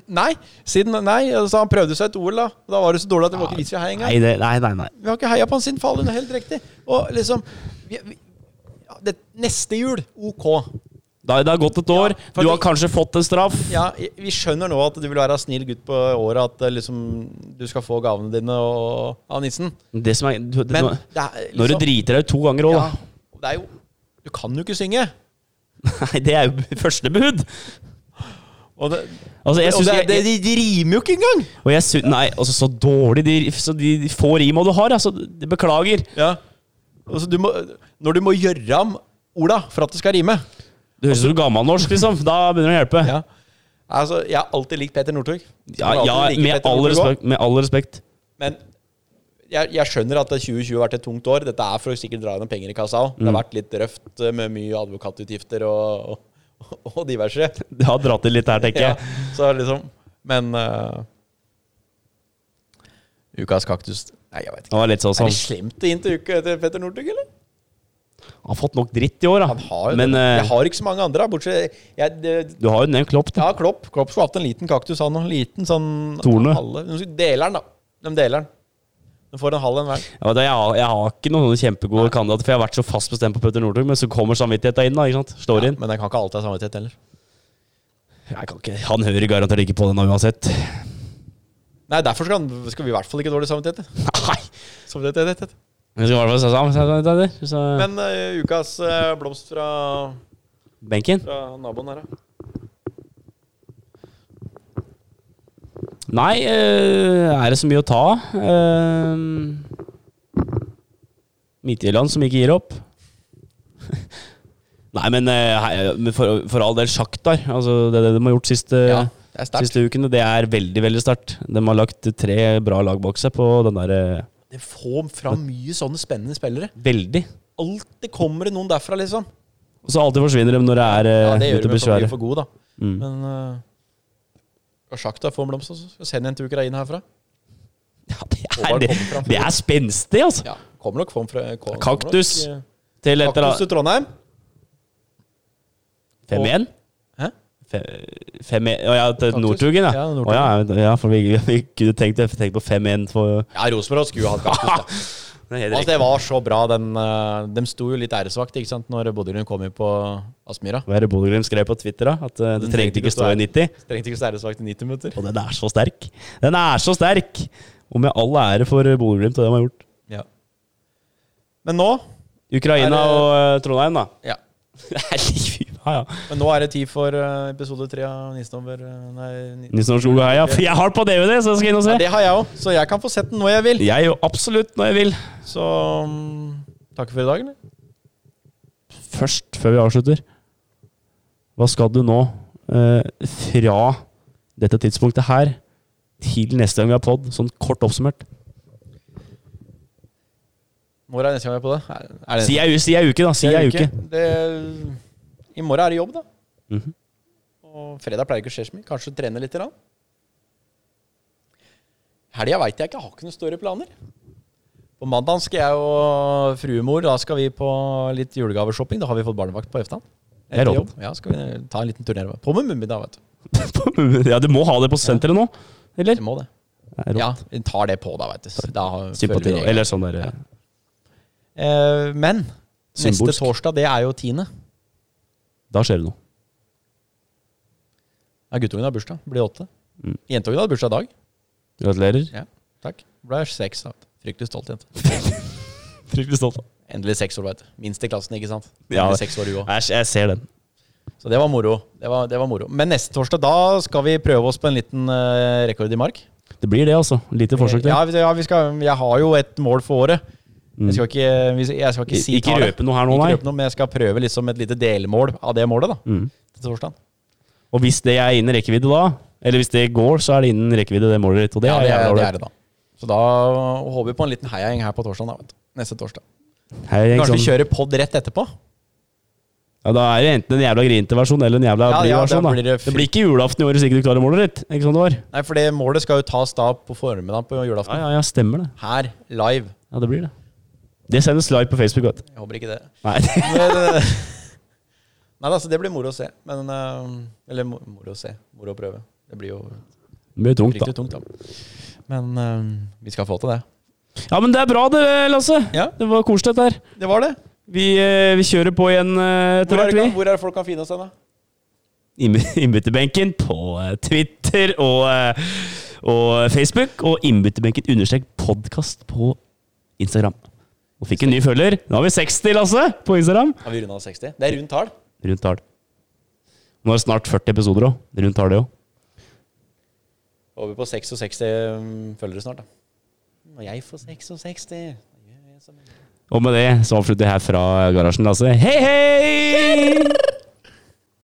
S3: Nei, siden, nei, altså han prøvde seg et OL, da. Da var det så dårlig at det var ikke vits i å heie engang.
S1: Nei, det, nei, nei. nei.
S3: Vi har ikke heia på han siden Falun, det er helt riktig. Og liksom vi, vi, ja, det, Neste jul, ok.
S1: Da, det har gått et år.
S3: for
S1: du
S3: det-
S1: har kanskje fått en straff.
S3: Ja, vi skjønner nå at du vil være snill gutt på året, at eh, liksom du skal få gavene dine og, av nissen.
S1: Det som er, du,
S3: Men
S1: nå-
S3: det er liksom
S1: når du driter deg ut to ganger òg,
S3: ja,
S1: da.
S3: og Det er jo Du kan jo ikke synge.
S1: Nei, det er jo første bud.
S3: Og det,
S1: Altså, jeg
S3: og
S1: synes
S3: det,
S1: jeg-
S3: det, de, de rimer jo ikke engang!
S1: Og jeg sy Nei, altså så dårlig de, så de, de få rima du har. Altså, det beklager.
S3: Ja. Og så du må, når du må gjøre om Ola for at det skal rime
S1: Det høres ut som gammelnorsk, liksom. Da begynner det å hjelpe.
S3: ja. Altså, Jeg har alltid likt Peter Northug.
S1: Ja,
S3: Jeg har
S1: ja,
S3: alltid likt
S1: med,
S3: Petter
S1: all
S3: Northug også.
S1: respekt, med all respekt.
S3: Men jeg, jeg skjønner at det 2020 har vært et tungt år. Dette er for å sikkert dra inn noen penger i kassa òg. Det har vært litt røft eh, med mye advokatutgifter og, og, og diverse.
S1: Det har dratt til litt her, tenker
S3: Ja,
S1: jeg.
S3: så liksom Men eh, Ukas kaktus Nei, jeg vet ikke.
S1: Det var litt sånn
S3: Er
S1: sånn.
S3: det slemt å inn til uke etter Petter Northug, eller?
S1: Han har fått nok dritt i år, da.
S3: Han har jo
S1: Men
S3: det.
S1: eh,
S3: Jeg har ikke så mange andre, bortsett jeg, det,
S1: du har jo nevnt Klopp, da.
S3: Ja, Klopp. Klopp skulle hatt en liten kaktus, han òg. Liten sånn
S1: Torne.
S3: halve. De deler den, da. De deler den. De får en halv en hver.
S1: Ja, vet du, jeg, har, jeg har ikke noen sånne kjempegode kandidater, for jeg har vært så fast bestemt på Petter Northug, men så kommer samvittigheten inn, da. ikke sant? Slår
S3: Ja,
S1: inn.
S3: men den kan ikke alltid ha samvittighet heller.
S1: Jeg kan ikke, han hører garantert ikke på den da, uansett.
S3: Nei, derfor skal, han, skal vi i hvert fall ikke ha dårlig samvittighet.
S1: Nei!
S3: Samvittighet,
S1: Vi skal i hvert fall se sammen. Så
S3: Men eh, ukas eh, blomst fra,
S1: benken.
S3: fra naboen her, da.
S1: Nei, eh, er det så mye å ta? Uh, Midtjylland som ikke gir opp. Nei, men eh, hei, men for, for all del sjaktar. Altså, det, det de har gjort siste,
S3: Eh, det er
S1: siste ukene, det er veldig veldig sterkt. De har lagt tre bra lag bak seg på den der eh,
S3: Det får fram mye sånne spennende spillere.
S1: Veldig.
S3: Alltid kommer det noen derfra, liksom.
S1: Og så alltid forsvinner de når det er
S3: Ja,
S1: eh,
S3: det gjør
S1: ute
S3: vi for mye
S1: besværet.
S3: for gode, da.
S1: Mm.
S3: Men eh, og Sjakta får en blomst, og så skal vi sende en til Ukraina herfra.
S1: Ja, det
S3: Håvard
S1: er, det,
S3: kommer fram.
S1: det er spenstig, altså!
S3: Ja, Kommer nok form fra kom,
S1: Kaktus.
S3: kommer nok,
S1: Til
S3: eh,
S1: etter
S3: Kaktus til Trondheim.
S1: 5-1.
S3: Hæ?
S1: Fe- fem- Å ja, til Northugen, ja.
S3: Ja,
S1: Å
S3: Northugen.
S1: ja, ja, for vi, vi kunne tenkt, tenkt på 5-1 for
S3: Ja, Rosenborg skulle jo hatt kaktus. da.
S1: Det er helt
S3: Altså,
S1: riktig.
S3: det var så bra. Den, eh, de sto jo litt æresvakt ikke sant, når Bodø-Glimt kom inn på Aspmyra.
S1: Hva er det Bodø-Glimt skrev på Twitter, da? At eh, det trengte ikke stå i 90.
S3: Trengte ikke så æresvakt i 90 minutter.
S1: Og den er så sterk! Den er så sterk! Og med all ære for Bodø-Glimt og det de har gjort.
S3: Ja. Men nå Er
S1: Ukraina
S3: det-
S1: og eh, Trondheim, da.
S3: ja.
S1: Det er liv- ja, ja.
S3: Men nå er det tid for eh, episode tre av Nissen over eh, Nei, ni-
S1: Nilsen og Skog og Heia. For jeg har den på DVD, så jeg skal inn og
S3: ja,
S1: se.
S3: det har jeg òg, så jeg kan få sett den når jeg vil.
S1: Jeg jo absolutt når jeg vil.
S3: Så mm, takk for i dag, eller?
S1: Først, før vi avslutter Hva skal du nå eh, fra dette tidspunktet her til neste gang vi har podd, sånn kort oppsummert?
S3: Når er neste gang jeg er på det? Er, er det
S1: Si ei u- si ei uke, da. Si ei uke.
S3: Det, I morgen er det jobb, da.
S1: Mhm.
S3: Og fredag pleier ikke å skje så mye. Kanskje trene litt. grann. Helga veit jeg ikke. Jeg har ikke noen store planer. På mandag skal jeg og fruemor Da skal vi på litt julegaveshopping. Da har vi fått barnevakt på Eftan.
S1: Det er
S3: Etter
S1: rått.
S3: jobb. Ja, skal vi ta en liten turné. På med mummiddag, vet du.
S1: ja, du må ha det på senteret nå, eller?
S3: Vi må det.
S1: Nei, rått.
S3: Ja, vi tar det på, da, veit du. Da har- følger vi
S1: Sympati, da.
S3: reglene.
S1: Eller sånn der eh,
S3: Eh, Men
S1: Symbolsk.
S3: neste torsdag, det er jo tiende.
S1: Da skjer det noe.
S3: Ja, guttungen har bursdag. Blir åtte.
S1: Mm.
S3: Jentungen hadde bursdag i dag.
S1: Gratulerer.
S3: Ja, takk. Ble seks, da. Fryktelig stolt jente.
S1: Fryktelig stolt.
S3: Endelig seks år, vet du. Minst i klassen, ikke sant?
S1: Ja.
S3: Endelig seks år, du også.
S1: Jeg, jeg ser den.
S3: Så det var moro. Det var, det var moro. Men neste torsdag, da skal vi prøve oss på en liten eh, rekord i mark.
S1: Det blir det, altså. Lite forsøk til.
S3: Ja, vi- ja vi skal, jeg har jo et mål for året.
S1: Mm.
S3: Jeg skal ikke, vi- jeg skal ikke si
S1: Ikke
S3: tallet.
S1: røpe noe her nå,
S3: Ikke
S1: nei.
S3: røpe noe, men jeg skal prøve liksom et lite delmål av det målet, da.
S1: Mm.
S3: Til torsdagen.
S1: Og hvis det er innen rekkevidde da, eller hvis det går, så er det innen rekkevidde det målet ditt. Og det
S3: Ja,
S1: er
S3: det,
S1: jævla
S3: er- det
S1: ålreit.
S3: er det, da. Så da håper vi på en liten heiagjeng her på torsdagen, da, vet du. Neste torsdag.
S1: Her er jeg
S3: Kanskje vi
S1: sånn,
S3: kjører pod rett etterpå?
S1: ja, da er det enten en jævla grinete versjon eller en jævla
S3: Ja,
S1: blid
S3: ja, da
S1: versjon. Da.
S3: blir
S1: det,
S3: det fy-
S1: blir ikke julaften i år hvis ikke du klarer målet ditt. Ikke sånn det var?
S3: Nei, for det målet skal jo tas da på formiddagen på
S1: Ja,
S3: julaften.
S1: ja, ja, stemmer det.
S3: Her, live.
S1: Ja, det blir det. Det sendes live på Facebook, vet du.
S3: Jeg håper ikke det.
S1: Nei,
S3: Men, eh, Nei, altså, det blir moro å se. Men eh, Eller mo- moro å se. Moro å prøve. Det blir jo
S1: det blir tungt, da.
S3: fryktelig tungt, da. Men eh, vi skal få til det.
S1: Ja, men det er bra det, Lasse.
S3: Ja,
S1: Det var koselig, dette her.
S3: det var det.
S1: Vi, eh, vi kjører på igjen eh, etter
S3: Hvor er
S1: hvert,
S3: det,
S1: vi.
S3: kan- hvor er det folk kan finne oss hen, da?
S1: Innby- Innbytterbenken på eh, Twitter og, eh, og Facebook. Og innbytterbenken understrek podkast på Instagram. Og fikk en ny følger. Nå har vi 60, Lasse, på Instagram.
S3: Har vi runda 60? Det er rundt tall.
S1: Rundt tall. Nå er det snart 40 episoder òg. Rundt tall, det òg.
S3: Over på 66 um, følgere snart, da. Og jeg får 66.
S1: Og med det så avslutter jeg her fra garasjen, Lasse. Hei, hei!